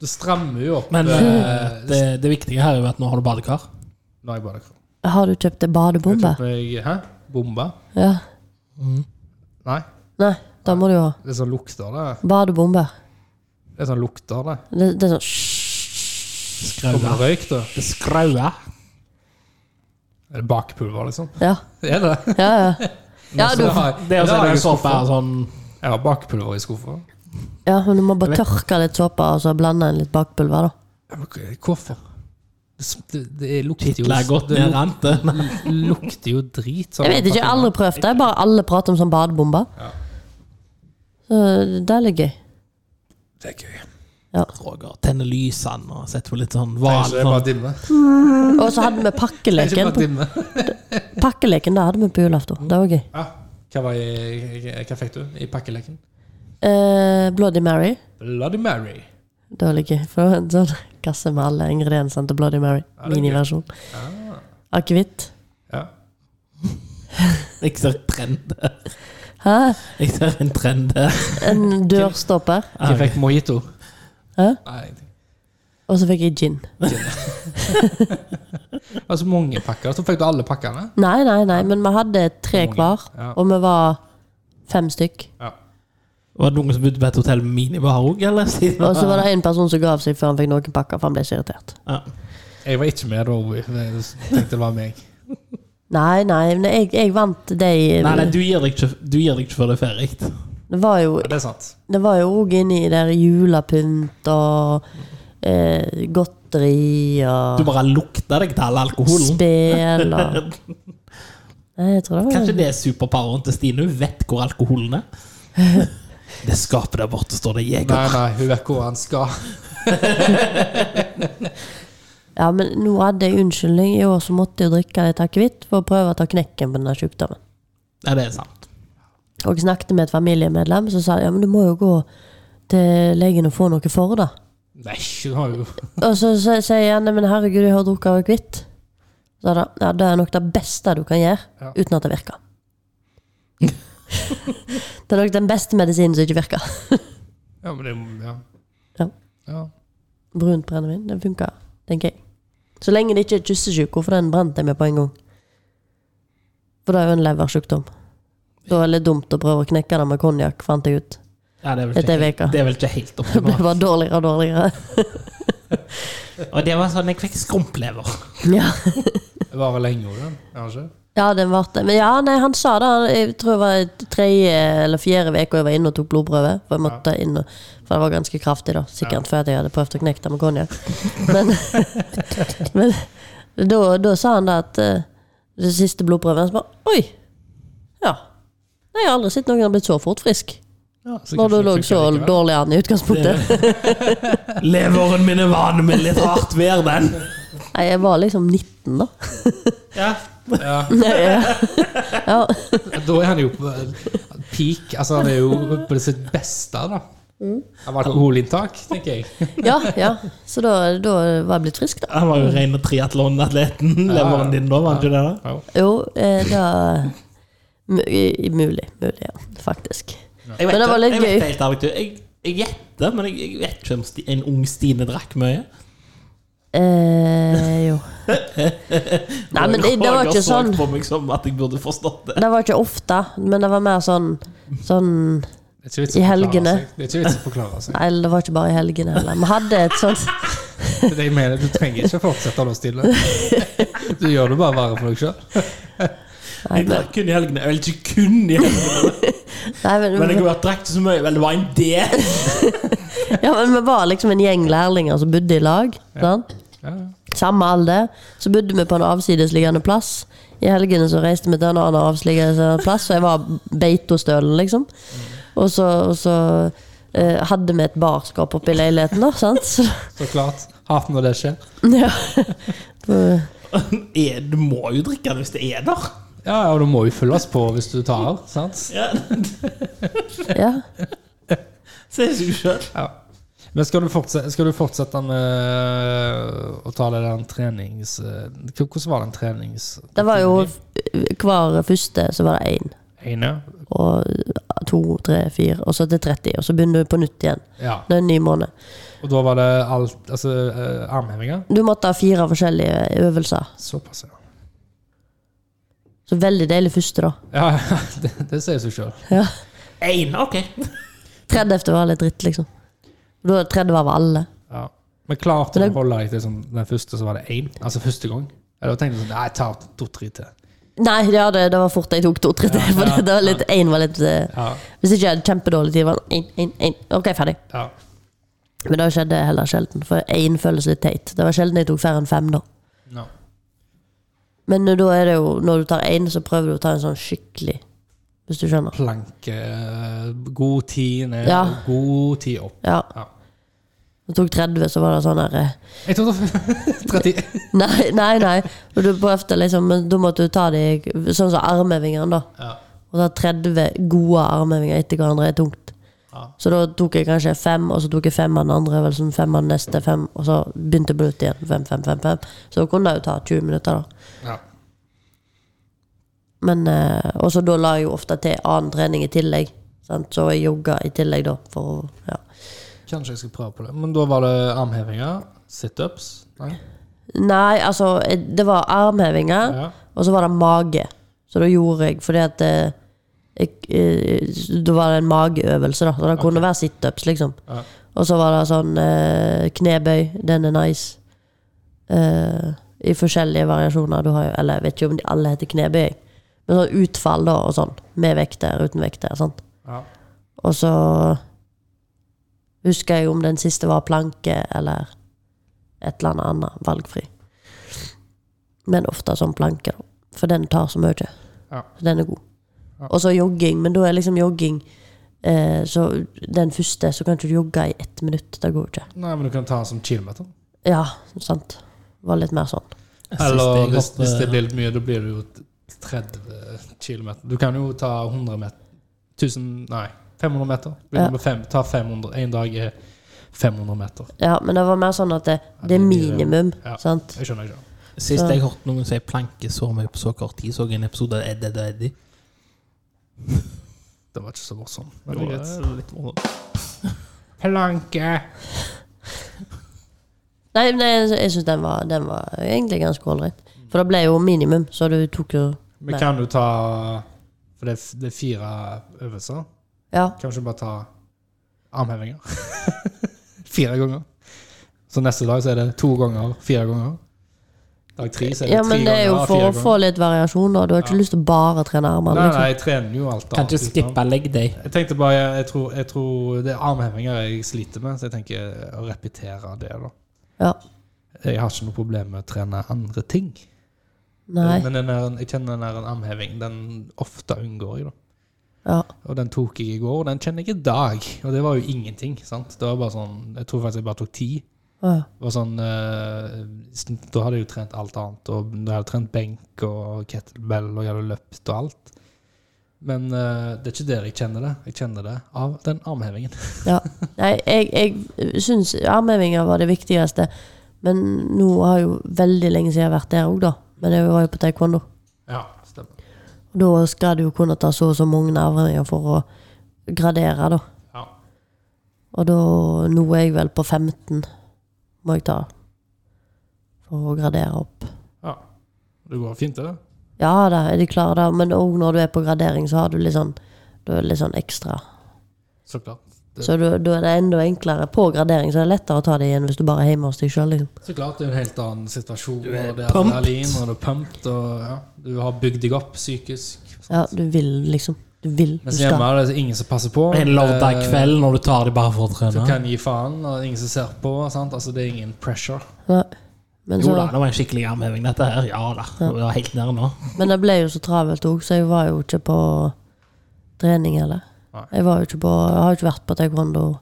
Speaker 2: Det strammer jo opp
Speaker 1: Men eh,
Speaker 2: eh,
Speaker 1: det, det viktige her er jo at nå har du badekar.
Speaker 2: når jeg bare kan.
Speaker 3: Har du kjøpt deg
Speaker 2: Jeg
Speaker 3: badebombe?
Speaker 2: tok meg- Hæ? Bombe?
Speaker 3: Ja.
Speaker 2: Nei,
Speaker 3: Nei, det må du jo ha.
Speaker 2: det er sånn lukter det.
Speaker 3: Badebombe.
Speaker 2: Det er sånn lukter det.
Speaker 3: Det, det er sånn
Speaker 2: Kommer
Speaker 1: Skraua.
Speaker 2: det røyk, da?
Speaker 1: Skraua.
Speaker 2: Er det bakpulver, liksom? *laughs*
Speaker 3: Ja,
Speaker 2: Er det?
Speaker 3: ja, *laughs* ja. Ja, du,
Speaker 2: Det har jeg-
Speaker 1: Det
Speaker 2: det
Speaker 1: er også
Speaker 2: har jeg
Speaker 1: en
Speaker 2: i
Speaker 1: såpe
Speaker 2: skuffa.
Speaker 1: sånn
Speaker 2: Jeg har bakpulver i skuffa.
Speaker 3: ja, men du må bare tørke litt såpe og så blande inn litt bakpulver. da
Speaker 2: Ja, men Hvorfor? Det, sm- det, det lukter jo
Speaker 1: Titler godt
Speaker 2: Det
Speaker 1: ned
Speaker 2: luk-
Speaker 1: rante.
Speaker 2: lukter jo drit. sånn.
Speaker 3: Jeg vet ikke, jeg har aldri prøvd det. Bare alle prater om sånn badebombe.
Speaker 2: Ja.
Speaker 3: Så det er litt gøy.
Speaker 2: Det er gøy.
Speaker 3: Ja.
Speaker 1: *laughs* Roger tenner lysene og setter på litt sånn
Speaker 2: Nei,
Speaker 1: hval.
Speaker 2: så Det er
Speaker 1: *laughs*
Speaker 2: bare dimme.
Speaker 3: Og så hadde vi
Speaker 2: Det er ikke
Speaker 3: pakkeleken.
Speaker 2: bare dimme.
Speaker 3: På, pakkeleken det hadde vi på julaften. Det var gøy.
Speaker 2: Ja. Hva, var i, hva fikk du i pakkeleken?
Speaker 3: Eh, Bloody Mary.
Speaker 2: Bloody Mary.
Speaker 3: Det var litt gøy. For det var en sånn kasse med alle ingrediensene til Bloody Mary.
Speaker 2: det er gøy. Ah.
Speaker 3: Miniversjon. Akevitt.
Speaker 2: Ja.
Speaker 1: sånn- Jeg ser trend.
Speaker 3: Hæ?
Speaker 1: Jeg ser en trend *laughs* der.
Speaker 3: En dørstopper.
Speaker 2: Hva fikk mojito?
Speaker 3: Hæ?
Speaker 2: Nei, ingenting.
Speaker 3: Og så fikk jeg gin.
Speaker 2: Det var så Altså, mange pakker. Så fikk du alle pakkene?
Speaker 3: Nei, nei, nei, men vi hadde tre
Speaker 2: Mange.
Speaker 3: hver,
Speaker 2: Ja.
Speaker 3: og vi var fem stykk.
Speaker 2: Ja.
Speaker 1: Var det noen som bodde på et hotell med minibar òg, eller? Siden-
Speaker 3: Og så var det en person som ga av seg før han fikk noen pakker, for han ble så irritert.
Speaker 1: Ja.
Speaker 2: Jeg var ikke med da, Ovi. Jeg tenkte det var meg.
Speaker 3: Nei, nei, men jeg, jeg vant de
Speaker 1: Nei, nei, du gir deg ikke, du gir deg ikke før det er ferdig.
Speaker 3: Det var jo
Speaker 2: Ja, det er sant.
Speaker 3: Det var jo òg inni der julepynt og eh, godteri
Speaker 1: Du
Speaker 3: og
Speaker 1: bare lukter deg til all alkoholen.
Speaker 3: spill og
Speaker 1: *laughs*
Speaker 3: Nei, jeg tror det var
Speaker 1: Kanskje det er superpoweren til Stine. Hun vet hvor alkoholen
Speaker 3: *laughs*
Speaker 1: er. Det skapet der borte står det
Speaker 2: Nei,
Speaker 1: jeger.
Speaker 2: nei, hun vet hvor han skal.
Speaker 3: Ja, men nå hadde jeg unnskyldning. I år så måtte jeg jo drikke litt akevitt for å prøve å ta knekken på denne sykdommen.
Speaker 1: Ja, det er sant.
Speaker 3: Og jeg snakket med et familiemedlem som sa ja, men du må jo gå til legen og få noe for det.
Speaker 2: Nei, hun har jo
Speaker 3: Og så s- sier han «Nei, men herregud, jeg har drukket av kvitt. Så sa han, ja, det er nok det beste du kan gjøre
Speaker 2: Ja.
Speaker 3: uten at det virker. *laughs* det er nok den beste medisinen som ikke virker.
Speaker 2: Ja, men det Ja.
Speaker 3: Ja.
Speaker 2: ja.
Speaker 3: Brunt brennevin, det funker, tenker jeg. Så lenge det ikke er kyssesyke, for den brente jeg meg på en gang. For det er jo en leversykdom. Da er det litt dumt å prøve å knekke det med konjakk, fant jeg ut.
Speaker 1: Ja, det, er vel
Speaker 3: Etter
Speaker 1: ikke
Speaker 3: ei
Speaker 1: helt,
Speaker 3: veke.
Speaker 1: det er vel ikke helt
Speaker 3: Det ble *laughs*
Speaker 1: optimalt.
Speaker 3: bare dårligere og dårligere.
Speaker 1: Og det var sånn jeg fikk skrumplever.
Speaker 3: Ja,
Speaker 2: Det varer lenge òg, den. Er det ikke?
Speaker 3: ja den ble det. Men ja, nei, han sa det. Jeg tror det var i tredje eller fjerde uke jeg var inne og tok blodprøve. For jeg måtte inn, og- for det var ganske kraftig, da. Sikkert før jeg hadde prøvd å knekke det med
Speaker 2: *laughs*
Speaker 3: konjakk. Men, *laughs* men da, da sa han det at eh, det siste blodprøven Så bare Oi! Ja. Nei, Jeg har aldri sett noen har blitt så fort frisk.
Speaker 2: Ja, så
Speaker 3: Når du
Speaker 2: kanskje det
Speaker 3: lå
Speaker 2: funker
Speaker 3: så
Speaker 2: likevel.
Speaker 3: dårlig an i utgangspunktet.
Speaker 1: Leveren min er vane med litt hardt vær, den.
Speaker 3: Nei, jeg var liksom
Speaker 2: *laughs*
Speaker 3: 19, da.
Speaker 1: Ja.
Speaker 3: *laughs*
Speaker 2: Ja.
Speaker 3: Ja.
Speaker 2: Da er han jo på peak. Altså, han er jo på sitt beste, da.
Speaker 3: Mm.
Speaker 2: Av alkoholinntak, tenker jeg.
Speaker 3: Ja, ja. Så da, da var jeg blitt frisk, da.
Speaker 1: Han var jo rene triatlonatleten. Leveren din da, var han ikke det? da?
Speaker 2: Ja.
Speaker 3: Jo, eh, da mu- i- i- Mulig. Mulig, ja. Faktisk.
Speaker 1: Jeg vet
Speaker 3: Men det var litt
Speaker 1: jeg vet
Speaker 3: gøy.
Speaker 1: helt ærlig, du. Jeg, jeg gjetter, men jeg, jeg vet ikke om Sti- en ung Stine drakk mye.
Speaker 3: Eh, jo. Nei, men det, det var
Speaker 1: Roger
Speaker 3: ikke
Speaker 1: så
Speaker 3: sånn.
Speaker 1: på meg som at jeg burde forstått det.
Speaker 3: Det var ikke ofte, men det var mer sånn sånn
Speaker 2: Det er ikke vits
Speaker 3: I
Speaker 2: å forklare
Speaker 3: helgene.
Speaker 2: seg. Det er ikke vits å forklare seg.
Speaker 3: Nei, det var ikke bare i helgene heller. Vi hadde et sånt
Speaker 2: Det er det jeg mener. Du trenger ikke å fortsette å lå
Speaker 3: *laughs*
Speaker 2: stille. Du gjør det bare verre for deg sjøl.
Speaker 3: Nei,
Speaker 1: Jeg
Speaker 3: men,
Speaker 1: drakk kun i helgene. Vel, ikke kun i helgene,
Speaker 3: *laughs* nei, men,
Speaker 1: men jeg har drakk ikke så mye. Vel, det var en del.
Speaker 3: ja, men vi var liksom en gjeng lærlinger som bodde i lag. Sant?
Speaker 2: Ja.
Speaker 3: Samme alder. Så bodde vi på en avsidesliggende plass. I helgene så reiste vi til en annen avsidesliggende plass, og jeg var Beitostølen, liksom. Og så, og så eh, hadde vi et barskap oppe i leiligheten, da. Sant? Så, *laughs*
Speaker 2: Så klart. Hater når det skjer.
Speaker 3: ja.
Speaker 1: Er- Du må jo drikke det hvis det er der.
Speaker 2: Ja, og du må jo følges på hvis du tar av, sant?
Speaker 1: Ja,
Speaker 3: ja.
Speaker 1: *laughs* Se seg sjøl.
Speaker 2: Ja. Men skal du fortsette, skal du fortsette med å ta det der trenings... eh, Hvordan var den trenings...
Speaker 3: Det var jo hver første så var det én.
Speaker 2: Ene?
Speaker 3: Og to, tre, fire, og så til 30. Og så begynner du på nytt igjen.
Speaker 2: Ja.
Speaker 3: Det er en ny måned.
Speaker 2: Og da var det alt Altså eh, armhevinger?
Speaker 3: Du måtte ha fire forskjellige øvelser.
Speaker 2: Såpass, ja.
Speaker 3: Så veldig deilig første, da.
Speaker 2: Ja, *laughs* det, det sier seg sjøl.
Speaker 1: Én, ok.
Speaker 3: 30 var litt dritt, liksom. Da 30 var vel alle.
Speaker 2: Ja. Men klarte du
Speaker 3: Men det-
Speaker 2: å holde deg til sånn, den første, så var det én? Altså første gang? Eller da tenkte du sånn Nei, jeg tar to-tre til.
Speaker 3: Nei, ja, det, det var fort jeg tok to tre til. For det, det var litt, en var litt eh,
Speaker 2: Ja.
Speaker 3: Hvis ikke jeg hadde kjempedårlig tid, var det en, en, en. Ok, ferdig.
Speaker 2: ja.
Speaker 3: Men det skjedde heller sjelden, for én føles litt teit. Det var sjelden jeg tok færre enn fem, da.
Speaker 2: No.
Speaker 3: Men eh, da er det jo, når du tar én, så prøver du å ta en sånn skikkelig, hvis du skjønner.
Speaker 2: Planke eh, God tid ned,
Speaker 3: Ja.
Speaker 2: god tid opp.
Speaker 3: Ja.
Speaker 2: Ja.
Speaker 3: Jeg tok 30, så var det sånn her eh,
Speaker 2: Jeg tror *laughs* det 30
Speaker 3: Nei, nei, nei. Og du prøvde liksom, men da måtte du ta de sånn som armhevingene, da.
Speaker 2: ja.
Speaker 3: Og da 30 gode armhevinger etter hverandre er tungt.
Speaker 2: Ja.
Speaker 3: Så da tok jeg kanskje fem, og så tok jeg fem av den andre øvelsen, fem av den neste, fem, og så begynte jeg på nytt igjen. Fem, fem, fem, fem. Så da kunne det jo ta 20 minutter, da.
Speaker 2: Ja.
Speaker 3: Men, eh, og så da la jeg jo ofte til annen trening i tillegg. Sant? Så jeg jogga i tillegg, da, for å ja.
Speaker 2: Kanskje jeg skal prøve på det. Men da var det armhevinger, situps Nei.
Speaker 3: Nei, altså, eh, det var armhevinger,
Speaker 2: Ja.
Speaker 3: og så var det mage. Så da gjorde jeg fordi at eh, jeg, eh, Da var det en mageøvelse, da. Så det kunne være situps, liksom.
Speaker 2: Ja.
Speaker 3: Og så var det sånn eh, knebøy. Den er nice. Eh, I forskjellige variasjoner. Du har jo Eller jeg vet ikke om de alle heter knebøy. jeg. Men sånn utfall, da, og sånn. Med vekter, uten vekter. Sant?
Speaker 2: Ja.
Speaker 3: Og så husker jeg om den siste var planke eller et eller annet annet valgfri. Men ofte som planke, da. For den tar så mye.
Speaker 2: Ja.
Speaker 3: Så den er god.
Speaker 2: Ja.
Speaker 3: Og så jogging, men da er liksom jogging eh, Så den første, så kan ikke du jogge i ett minutt. Det går jo ikke.
Speaker 2: Nei, men du kan ta den som kilometer.
Speaker 3: Ja, sant. Var litt mer sånn.
Speaker 2: Eller
Speaker 1: Siste jeg
Speaker 2: hvis,
Speaker 1: hoppet-
Speaker 2: hvis det eh, blir litt mye, da blir det jo 30 km. Du kan jo ta 100 meter 1000, Nei, 500 meter. Begynner
Speaker 3: Ja.
Speaker 2: med fem, ta 500. En dag er 500 meter.
Speaker 3: Ja, men det var mer sånn at det, det er
Speaker 2: det blir-
Speaker 3: minimum,
Speaker 2: ja.
Speaker 3: sant.
Speaker 2: Jeg skjønner ikke.
Speaker 1: Sist
Speaker 3: Så-
Speaker 1: jeg hørte noen si planke så mye på så kort tid, så jeg en episode av Ed, Ed og Eddie.
Speaker 2: Det var ikke så morsomt.
Speaker 1: Det
Speaker 2: Men det er greit.
Speaker 1: var litt morsomt.
Speaker 2: Planke.
Speaker 3: Nei, men jeg, jeg syns den, var- den var egentlig ganske ålreit. For det ble jo minimum, så du tok jo
Speaker 2: Vi kan jo ta For det er, f- det er fire øvelser.
Speaker 3: Ja.
Speaker 2: Kanskje bare ta armhevinger. *laughs* fire ganger. Så neste dag så er det to ganger, fire ganger. Dag tre så er det
Speaker 3: ja,
Speaker 2: tre
Speaker 3: men det er jo
Speaker 2: ganger,
Speaker 3: for
Speaker 2: fire
Speaker 3: å få litt variasjon, da. Du har ikke lyst til å bare trene
Speaker 2: ganger.
Speaker 3: armene.
Speaker 2: Nei, nei,
Speaker 3: Liksom.
Speaker 2: jeg trener jo alt
Speaker 1: Kan ikke
Speaker 2: utenom.
Speaker 1: skippe leg day.
Speaker 2: Jeg tenkte bare, jeg, jeg, tror, jeg tror det er armhevinger jeg sliter med, så jeg tenker å repetere det. da.
Speaker 3: Ja.
Speaker 2: Jeg har ikke noe problem med å trene andre ting.
Speaker 3: Nei.
Speaker 2: Men den der, jeg kjenner den der armheving, den ofte unngår jeg. da.
Speaker 3: Ja.
Speaker 2: Og den tok jeg i går, og den kjenner jeg i dag. Og det var jo ingenting. sant? Det var bare sånn, Jeg tror faktisk jeg bare tok ti.
Speaker 3: Ja.
Speaker 2: Det var sånn, eh, sn- Da hadde jeg jo trent alt annet. og Jeg hadde trent benk og kettlebell og jeg hadde løpt og alt. Men eh, det er ikke der jeg kjenner det. Jeg kjenner det av den armhevingen.
Speaker 3: Ja. Nei, jeg, jeg syns armhevinger var det viktigste. Men nå har jo veldig lenge siden jeg har vært der òg, da. Men jeg var jo på taekwondo.
Speaker 2: Ja, stemmer.
Speaker 3: Og da skal du jo kunne ta så og så mange armhevinger for å gradere, da.
Speaker 2: Ja.
Speaker 3: Og da Nå er jeg vel på 15, må jeg ta. For å gradere opp.
Speaker 2: ja. Det går fint, det.
Speaker 3: Ja da, er de klare da, men òg når du er på gradering, så har du litt sånn, da er det litt sånn ekstra.
Speaker 2: Så klart. Det,
Speaker 3: Så da da er det enda enklere. På gradering så er det lettere å ta det igjen hvis du bare er hjemme hos deg sjøl. Liksom.
Speaker 2: så klart det er en helt annen situasjon. Du
Speaker 1: er
Speaker 2: og det er
Speaker 1: pumped.
Speaker 2: adrenalin, og du er pumped, og ja, du har bygd deg opp psykisk.
Speaker 3: Ja, du vil liksom. Du vil. Du
Speaker 2: Mens hjemme
Speaker 3: skal.
Speaker 2: er det ingen som passer på.
Speaker 1: En lørdag
Speaker 2: Eh,
Speaker 1: kveld når du tar det bare for å
Speaker 2: Du
Speaker 1: trene.
Speaker 2: kan gi faen, og ingen som ser på. Sant? Altså, det er ingen pressure.
Speaker 3: Nei. Men,
Speaker 1: Jo
Speaker 3: så,
Speaker 1: da, det var en skikkelig armheving, dette her. Ja da. Det var helt nede nå.
Speaker 3: men det ble jo så travelt òg, så jeg var jo ikke på trening heller.
Speaker 2: Nei.
Speaker 3: Jeg, var jo ikke på, jeg har jo ikke vært på taekwondo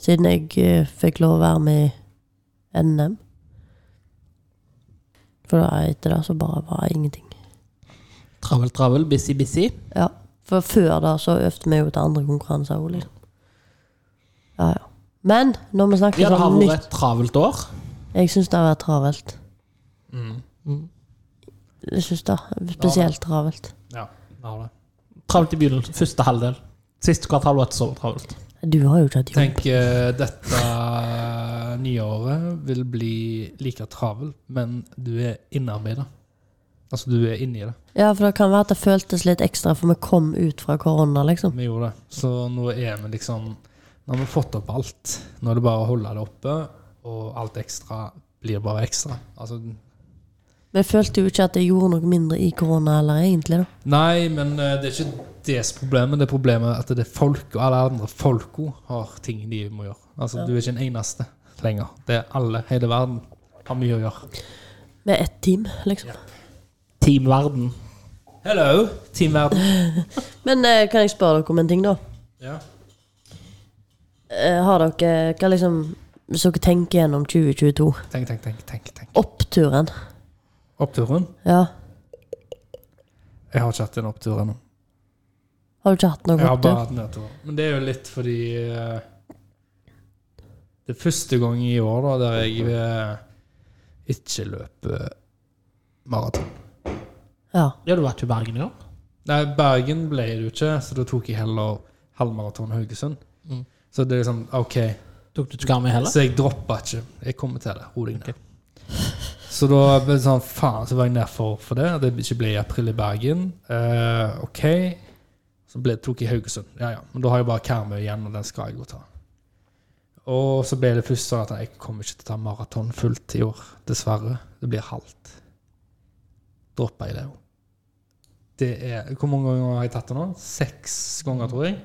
Speaker 3: siden jeg eh, fikk lov å være med i NM. For da etter det så bare var det ingenting.
Speaker 1: Travel, travel, busy, busy.
Speaker 3: Ja, for før da så øvde vi jo til andre konkurranser også, liksom. Ja, ja. Men når vi snakker
Speaker 1: Ja, det har
Speaker 3: sånn
Speaker 1: vært
Speaker 3: nytt
Speaker 1: et travelt år.
Speaker 3: Jeg syns det har vært travelt.
Speaker 1: Mm.
Speaker 3: Mm. Jeg syns det. Spesielt travelt.
Speaker 2: Ja, ja det.
Speaker 1: Travelt i begynnelsen. Første halvdel. Siste kvart halvår så travelt.
Speaker 3: Du har jo ikke hatt jobb.
Speaker 2: Tenk eh, dette nye året vil bli like travel, men du er innarbeida. Altså, du er inni det.
Speaker 3: Ja, for det kan være at det føltes litt ekstra, for vi kom ut fra korona, liksom.
Speaker 2: Vi gjorde det. Så nå er vi liksom Nå har vi fått opp alt. Nå er det bare å holde det oppe, og alt ekstra blir bare ekstra. Altså,
Speaker 3: Men jeg følte jo ikke at jeg gjorde noe mindre i korona heller, egentlig, da.
Speaker 2: Nei, men eh, det er ikke deres problem. men Det er problemet at det er folk og alle andre folka har ting de må gjøre. Altså, Du er ikke den eneste lenger. Det er alle, hele verden, har mye å gjøre.
Speaker 3: Med ett team, liksom.
Speaker 1: Team Verden.
Speaker 2: Hello, Team Verden.
Speaker 3: Men eh, kan jeg spørre dere om en ting, da?
Speaker 2: Ja.
Speaker 3: Eh, har dere Hva liksom Hvis dere tenker gjennom 2022,
Speaker 2: Tenk, tenk, tenk. tenk, tenk.
Speaker 3: oppturen
Speaker 2: Oppturen?
Speaker 3: Ja.
Speaker 2: Jeg har ikke hatt en opptur ennå.
Speaker 3: Har du ikke hatt noe
Speaker 2: Jeg har
Speaker 3: opptur?
Speaker 2: bare hatt nedtur. Men det er jo litt fordi eh, Det er første gang i år da, der jeg eh, ikke løper maraton.
Speaker 3: Ja.
Speaker 1: Ja, du var ikke i Bergen i år?
Speaker 2: Nei, Bergen ble det jo ikke, så da tok jeg heller halvmaraton Haugesund.
Speaker 1: Mm.
Speaker 2: Så det er liksom OK.
Speaker 1: Tok du ikke Garmi heller?
Speaker 2: Så jeg droppa ikke. Jeg kommer til det. Ro deg ned. Så da ble det sånn Faen, så var jeg nedfor for det. Det ikke ble i april i Bergen. Eh, OK. Så ble, tok jeg Haugesund. Ja, ja. Men da har jeg bare Karmøy igjen, og den skal jeg jo ta. Og så ble det først sånn at jeg kommer ikke til å ta maraton fullt i år. Dessverre. Det blir halvt. Droppa jeg det òg. Det er Hvor mange ganger har jeg tatt det nå? Seks ganger, tror jeg.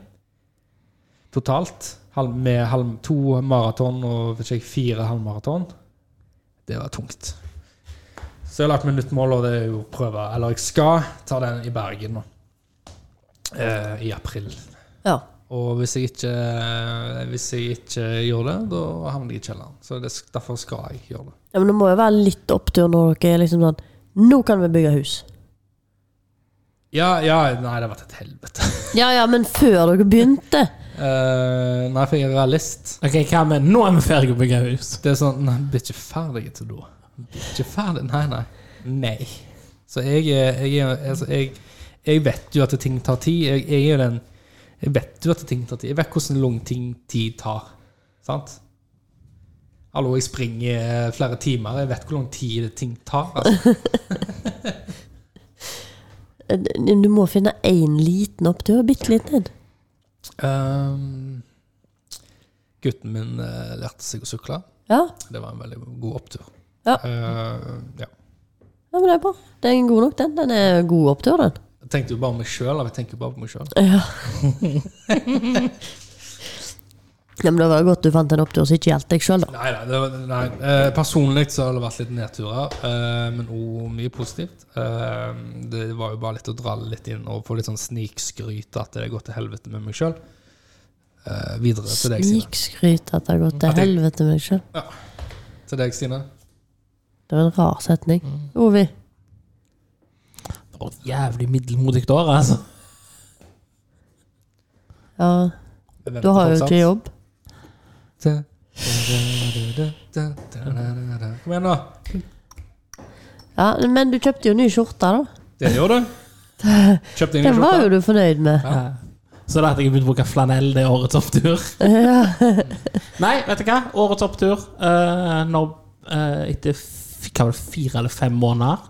Speaker 2: Totalt. Halv, med halv, to maraton og vet ikke, jeg, fire halvmaraton. Det var tungt. Så jeg har lagt meg nytt mål, og det er jo å prøve Eller jeg skal ta den i Bergen nå. Eh, I april.
Speaker 3: Ja.
Speaker 2: Og hvis jeg ikke, eh, hvis jeg ikke gjør det, da havner jeg i kjelleren. Så det, derfor skal jeg gjøre det.
Speaker 3: ja. Men det må jo være litt opptur når dere er liksom sånn Nå kan vi bygge hus.
Speaker 2: Ja, ja, nei, det har vært et helvete. *laughs*
Speaker 3: Ja ja, men før dere begynte.
Speaker 2: Eh, nei, for jeg er realist.
Speaker 1: Ok, hva med Nå er vi ferdige å bygge hus.
Speaker 2: Det er sånn Nei, blir ikke ferdig til da. Blir ikke ferdig Nei, nei. Nei. Så jeg er jeg, er- altså, jeg, jeg vet jo at ting tar tid. Jeg, jeg er jo den Jeg vet jo at ting tar tid. Jeg vet hvordan lang ting tid tar. Sant? Hallo, jeg springer eh, flere timer. Jeg vet hvor lang tid ting tar. Altså.
Speaker 3: Eh, Du må finne én liten opptur. Bitte liten en.
Speaker 2: Ehm, gutten min eh, lærte seg å sykle.
Speaker 3: Ja.
Speaker 2: Det var en veldig god opptur.
Speaker 3: Ja.
Speaker 2: Eh, ja.
Speaker 3: ja, men det er bra. Den er god nok, den. Den er god opptur, den.
Speaker 2: Jeg tenkte jo bare meg sjøl. Jeg tenker jo bare på meg sjøl.
Speaker 3: Ja. *laughs* ja, men det var godt du fant en opptur som ikke gjaldt deg sjøl, da.
Speaker 2: Nei, nei, det var- nei. Eh, personlig så har det vært litt nedturer, eh, men òg mye positivt. Eh, det var jo bare litt å dra det litt inn og få litt sånn snikskryt at det går til helvete med meg sjøl. Eh, videre til deg, Stine.
Speaker 3: Snikskryt at det har gått til
Speaker 2: At jeg-
Speaker 3: helvete med meg sjøl.
Speaker 2: Til deg, Stine.
Speaker 3: Det var en rar setning.
Speaker 2: Mm.
Speaker 3: Ovi.
Speaker 1: Det var et jævlig middelmodig år, altså.
Speaker 3: Ja,
Speaker 2: Jeg
Speaker 3: du
Speaker 2: venter
Speaker 3: har jo
Speaker 2: fortsatt.
Speaker 3: ikke jobb.
Speaker 2: Da, da, da, da, da, da, da, da. Kom igjen, da.
Speaker 3: Ja, Men du kjøpte jo ny skjorte, da.
Speaker 2: Det gjør du. Kjøpte ingen
Speaker 3: Den var
Speaker 2: skjorte.
Speaker 3: jo du fornøyd med.
Speaker 1: Så det at jeg begynte å bruke flanell, det er årets opptur. *laughs* Nei, vet du hva? Årets opptur eh, når, eh, etter f- hva var det, fire eller fem måneder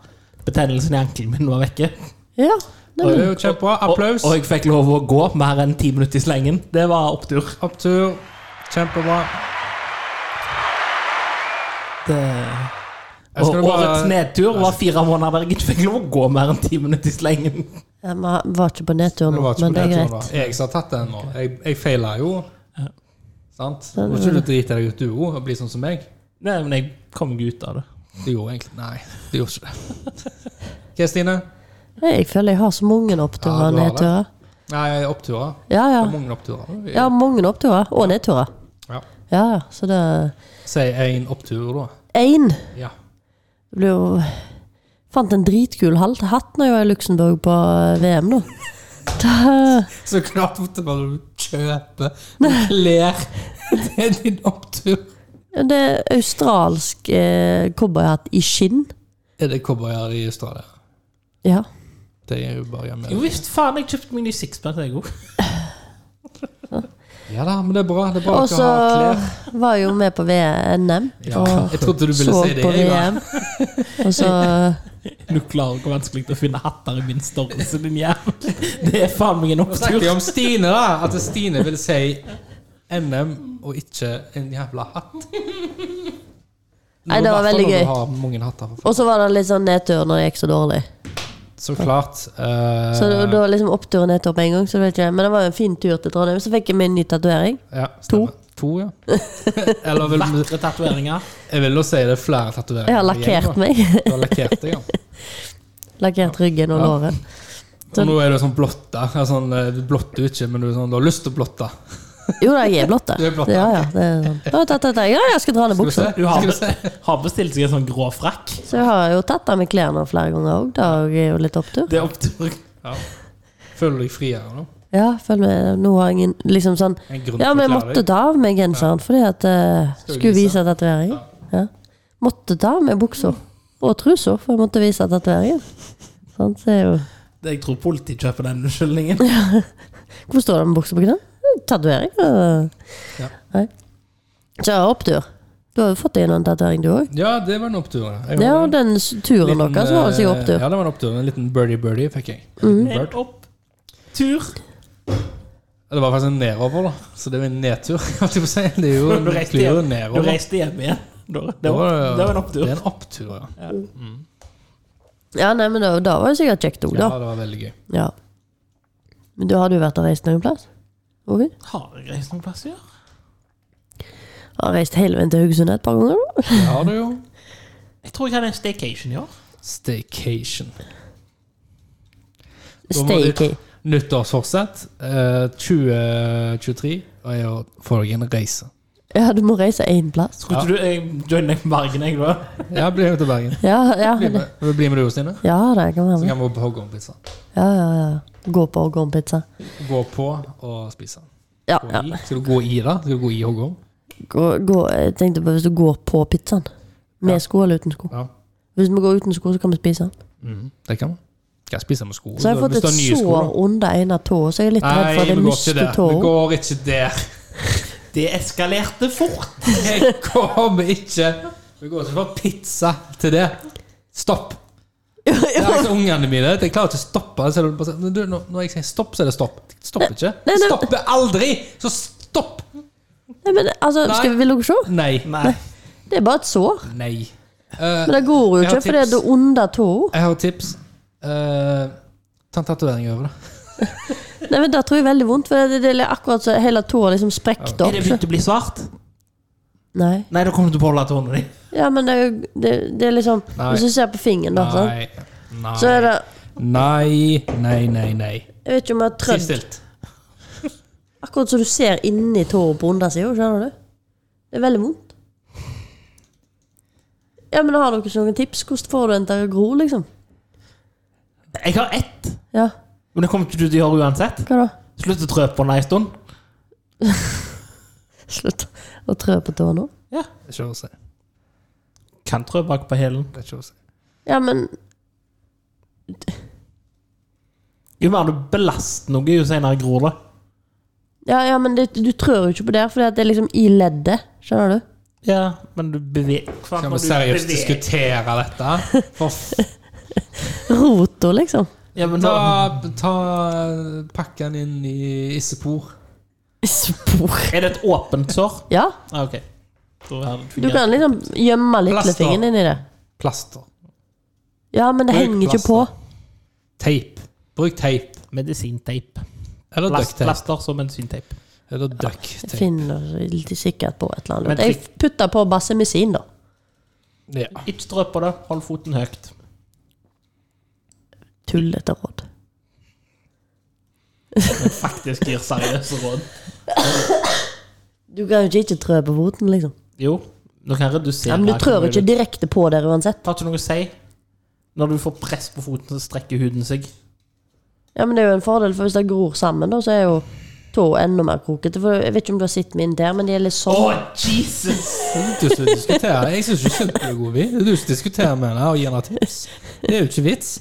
Speaker 1: Betennelsen i ankelen min var vekke.
Speaker 3: Ja.
Speaker 2: Det
Speaker 3: Nei,
Speaker 2: er
Speaker 3: men,
Speaker 2: jo kjempebra.
Speaker 1: Og,
Speaker 2: Applaus.
Speaker 1: og jeg fikk lov å gå mer enn ti minutter i slengen. Det var opptur.
Speaker 2: Opptur. Kjempebra.
Speaker 1: Det,
Speaker 2: Jeg skal
Speaker 1: og
Speaker 2: jo bare-
Speaker 1: årets nedtur var fire måneder der jeg ikke fikk lov å gå mer enn ti minutter i slengen.
Speaker 3: ja, Vi var ikke på nedtur
Speaker 2: Det
Speaker 3: nå,
Speaker 2: var ikke
Speaker 3: men det er
Speaker 2: nedturen,
Speaker 3: greit.
Speaker 2: da. Jeg som har tatt den nå. Jeg, jeg feila jo. Sant? Må ikke du drite deg ut, du òg, og bli sånn som meg?
Speaker 1: Nei, men jeg kom meg ut av det.
Speaker 2: Du gjorde egentlig Nei, du gjorde ikke det. Hva, Stine?
Speaker 3: Nei, Jeg føler jeg har så mange oppturer
Speaker 2: Ja,
Speaker 3: og
Speaker 2: du har det.
Speaker 3: nedturer.
Speaker 2: Nei, oppturer.
Speaker 3: Ja, ja.
Speaker 2: Det er Mange oppturer.
Speaker 3: Ja, mange oppturer. Og nedturer.
Speaker 2: Ja.
Speaker 3: Ja, ja. Så det er
Speaker 2: Si én opptur, da.
Speaker 3: Én
Speaker 2: Ja.
Speaker 3: Det ble jo Fant en dritkul hal- hatt når jeg var i Luxembourg på eh, VM, nå. *laughs* Da-
Speaker 2: Så klart måtte bare du kjøpe klær til din opptur.
Speaker 3: Det er australsk eh, cowboyhatt i skinn.
Speaker 2: Er det cowboyer i Australia?
Speaker 3: Ja.
Speaker 2: Det er jo bare hjemme.
Speaker 1: Jo visst, faen, jeg kjøpte meg ny sixpack, jeg òg.
Speaker 2: Ja da, men det er bra. Det er bra
Speaker 3: Og
Speaker 2: at du
Speaker 3: så
Speaker 2: har klær.
Speaker 3: var jeg jo med på VM,
Speaker 2: Ja.
Speaker 3: og
Speaker 2: Jeg trodde du ville
Speaker 3: så
Speaker 2: si det.
Speaker 3: på
Speaker 2: jeg, da.
Speaker 3: VM.
Speaker 2: *laughs*
Speaker 3: Og så
Speaker 1: Du klarer ikke vanskelig til å finne hatter i min størrelse, din jævel. *laughs* Det er faen meg en
Speaker 2: Nå snakker
Speaker 1: opptur.
Speaker 2: vi om Stine, da. At Stine vil si NM og ikke en jævla hatt.
Speaker 3: *laughs* Nei, det
Speaker 2: Nå, i hvert
Speaker 3: var
Speaker 2: fall
Speaker 3: veldig
Speaker 2: når
Speaker 3: gøy.
Speaker 2: Du har mange hatter for faen.
Speaker 3: Og så var det litt sånn nedtur når det gikk så dårlig.
Speaker 2: Så klart. eh,
Speaker 3: Så det, det var liksom opptur og nedtur på en gang. Så det var ikke, men det var jo en fin tur til Trondheim. Så fikk jeg meg en ny tatovering.
Speaker 2: ja, stemmer. To, ja. *laughs* Eller vil,
Speaker 1: Vakre tatoveringer.
Speaker 2: jeg vil jo si det er flere tatoveringer.
Speaker 3: Jeg har
Speaker 2: i gjeng, da.
Speaker 3: lakkert meg. *laughs*
Speaker 2: Du har lakkert deg, ja.
Speaker 3: Lakkert ryggen og
Speaker 2: Ja.
Speaker 3: låret.
Speaker 2: Og nå er du sånn blotta. Ja, Sånn, eh, du blotter jo ikke, men du, er sånn, du har lyst til å blotte.
Speaker 3: Jo da, jeg er blått,
Speaker 2: Du er blått,
Speaker 3: Ja, ja, det er sånn. Da har jeg tatt dette. Ja, jeg skal dra ned
Speaker 2: Skal vi se?
Speaker 3: buksa.
Speaker 1: Du har,
Speaker 2: Skal vi se?
Speaker 1: *laughs* har bestilt seg en sånn grå frakk.
Speaker 3: Så jeg har jo tatt av meg klærne flere ganger òg. Det er jo litt opptur.
Speaker 1: Det er opptur.
Speaker 2: Ja. Føler du deg friere nå?
Speaker 3: Ja, følg med. Nå har jeg en liksom sånn
Speaker 2: En grunn
Speaker 3: Ja,
Speaker 2: til
Speaker 3: men
Speaker 2: å
Speaker 3: jeg
Speaker 2: klare
Speaker 3: måtte
Speaker 2: deg.
Speaker 3: ta av meg genseren fordi at eh,
Speaker 2: du
Speaker 3: Skulle
Speaker 2: vise?
Speaker 3: vise tatovering. Ja. Måtte ta av meg buksa. Og trusa, for jeg måtte vise tatoveringen. Sånn, så er jo
Speaker 1: Det- Jeg tror politiet kjøper den unnskyldningen.
Speaker 3: Hvor står det med buksa på knærne? Tatovering. øh.
Speaker 2: Ja.
Speaker 3: Nei. Så opptur. Du har jo fått deg en tatovering, du òg.
Speaker 2: Ja, det var en opptur. Jeg
Speaker 3: Ja,
Speaker 2: har en
Speaker 3: den s- turen
Speaker 2: liten,
Speaker 3: deres var altså
Speaker 2: eh,
Speaker 3: opptur. Mm.
Speaker 2: Ja, det var en opptur. En liten birdie-birdie fikk jeg. En liten
Speaker 1: En
Speaker 2: bird.
Speaker 1: opptur.
Speaker 2: Ja, Det var faktisk en nedover, da. Så det var en nedtur. *laughs* holdt jeg på å si. Det er jo
Speaker 1: Du
Speaker 2: en
Speaker 1: reiste
Speaker 2: klyver
Speaker 1: hjem, du
Speaker 2: nedover.
Speaker 1: reiste hjem igjen. Da- Det var, det var en
Speaker 2: Det
Speaker 1: opptur.
Speaker 2: er en opptur, ja.
Speaker 3: Ja, nei, men da, da var det sikkert kjekt òg,
Speaker 2: ja.
Speaker 3: da.
Speaker 2: Det var veldig gøy.
Speaker 3: Ja. Men du hadde jo vært og reist noen plass? Ovi?
Speaker 1: Har jeg reist noen plass i år?
Speaker 3: Har reist hele veien til Haugesund et par ganger, da.
Speaker 2: Det har du jo.
Speaker 1: Jeg tror jeg hadde en staycation i år.
Speaker 2: Staycation. Da må du-
Speaker 3: Staycay.
Speaker 2: Nyttårsforsett eh, 2023 er å få deg en reise.
Speaker 3: Ja, du må reise én plass.
Speaker 1: Skulle
Speaker 2: Ja.
Speaker 1: du jeg joine deg på Bergen, jeg, da?
Speaker 2: Ja, bli med til Bergen.
Speaker 3: Ja, ja.
Speaker 2: Bli med, Vil du bli med du, Stine.
Speaker 3: Ja, det kan være
Speaker 2: Så
Speaker 3: med.
Speaker 2: kan vi på Hoggormpizza.
Speaker 3: Ja, ja, ja. Gå på orgonpizza.
Speaker 2: Gå på og spise.
Speaker 3: Ja,
Speaker 2: Gå
Speaker 3: ja.
Speaker 2: i. Skal du gå i, da? Skal du gå i hoggorm?
Speaker 3: Gå, gå, jeg tenkte på hvis du går på pizzaen. Med sko eller uten sko?
Speaker 2: Ja.
Speaker 3: Hvis vi går uten sko, så kan vi spise den.
Speaker 1: Mm.
Speaker 2: Mhm, Det kan man. Skal jeg spise med sko?
Speaker 3: Så har jeg fått
Speaker 2: Hvis
Speaker 3: et
Speaker 2: du har nye sko,
Speaker 3: sår
Speaker 2: da.
Speaker 3: under ene tåa, så jeg er litt redd for
Speaker 2: Nei,
Speaker 3: at jeg
Speaker 2: vi går ikke
Speaker 3: mister
Speaker 2: der. Vi
Speaker 3: tåa.
Speaker 2: går ikke der.
Speaker 1: Det eskalerte fort.
Speaker 2: Jeg kommer ikke Vi går ikke for pizza til det. Stopp. Det er altså ungene mine. De klarer ikke å stoppe. Selv om de bare sier, "Men du, når når jeg sier stopp, så er det stopp. De stopper ikke.
Speaker 3: Nei,
Speaker 2: De
Speaker 3: nei.
Speaker 2: Stopper aldri! Så stopp!
Speaker 3: Nei, men altså,
Speaker 2: Nei.
Speaker 3: skal, vil dere se?
Speaker 2: Nei.
Speaker 1: Nei.
Speaker 3: Det er bare et sår.
Speaker 2: Nei.
Speaker 3: Men det går jo
Speaker 2: Jeg har
Speaker 3: ikke, for det er
Speaker 2: tips.
Speaker 3: det under tåa.
Speaker 2: Jeg har et tips. Eh, ta en tatovering over det.
Speaker 3: Nei, men Det tror jeg er veldig vondt, for det, det er akkurat så hele tåa liksom sprukket
Speaker 1: Er
Speaker 3: opp.
Speaker 1: det begynt å bli svart?
Speaker 3: Nei.
Speaker 1: Nei, da kommer du til å holde tårene dine.
Speaker 3: Ja, men det er jo det, det er liksom
Speaker 2: Nei.
Speaker 3: Hvis du ser på fingeren, da, sant?
Speaker 2: Nei. Nei.
Speaker 3: Sånn, så er det
Speaker 2: Nei, nei, nei, nei.
Speaker 3: Jeg vet ikke om jeg har
Speaker 2: Si
Speaker 3: trødd
Speaker 2: stilt.
Speaker 3: Akkurat som du ser inni tåa på undersida, skjønner du? Det er veldig vondt. Ja, men har dere ikke noen tips? Hvordan får du den til å gro, liksom?
Speaker 1: Jeg har ett,
Speaker 3: Ja,
Speaker 1: men det kommer ikke du til å gjøre uansett.
Speaker 3: hva da?
Speaker 1: Slutt å trø på den ei stund.
Speaker 3: Slutt å trø på tåa nå?
Speaker 2: Det er ikke å si.
Speaker 1: Kan trø bak på hælen.
Speaker 2: Det er ikke å si.
Speaker 3: Ja, men
Speaker 1: Jo mer du belaster noe, jo senere gror det.
Speaker 3: Ja, ja, men det, du trør jo ikke på der, for det er liksom i leddet. Skjønner du?
Speaker 1: Ja, men du beveger
Speaker 2: Skal vi seriøst diskutere dette?
Speaker 3: *laughs*
Speaker 2: For f...
Speaker 3: Rota, liksom.
Speaker 1: Ja, men
Speaker 2: Ta,
Speaker 1: da,
Speaker 2: ta Pakk den inn i issepor.
Speaker 3: Spor.
Speaker 1: Er det et åpent sår?
Speaker 3: Ja,
Speaker 1: Ah, ok. Da er det
Speaker 3: du kan liksom gjemme lillefingeren inni det.
Speaker 2: Plaster.
Speaker 3: Ja, men det
Speaker 2: Bruk
Speaker 3: henger ikke på.
Speaker 2: plaster. Teip. Bruk teip.
Speaker 1: Medisinteip.
Speaker 2: Eller
Speaker 1: Plast,
Speaker 2: ducktape.
Speaker 1: plaster som medisinteip.
Speaker 2: Eller
Speaker 3: Jeg
Speaker 2: ducktape.
Speaker 3: finner litt sikkert på et eller
Speaker 1: Men
Speaker 3: annet. Jeg putter på basemisin, da.
Speaker 2: Ja.
Speaker 1: Ikke strø på det. Hold foten høyt.
Speaker 3: Tullete råd.
Speaker 1: Men faktisk gir seriøse råd.
Speaker 3: Du kan jo ikke ikke trø på foten, liksom.
Speaker 1: Jo, du kan redusere
Speaker 3: Ja, men du trør ikke direkte på der uansett.
Speaker 1: Det har ikke noe å si. Når du får press på foten, så strekker huden seg.
Speaker 3: Ja, men det er jo en fordel, for hvis det gror sammen, da, så er jo tåa enda mer krokete. For jeg vet ikke om du har sett min der, men de er litt
Speaker 1: Å,
Speaker 3: sånn.
Speaker 1: Jesus!
Speaker 2: Du som diskuterer. Jeg syns ikke sunt du er god, vi. Det er du som diskuterer med henne og gir henne tips. Det er jo ikke vits.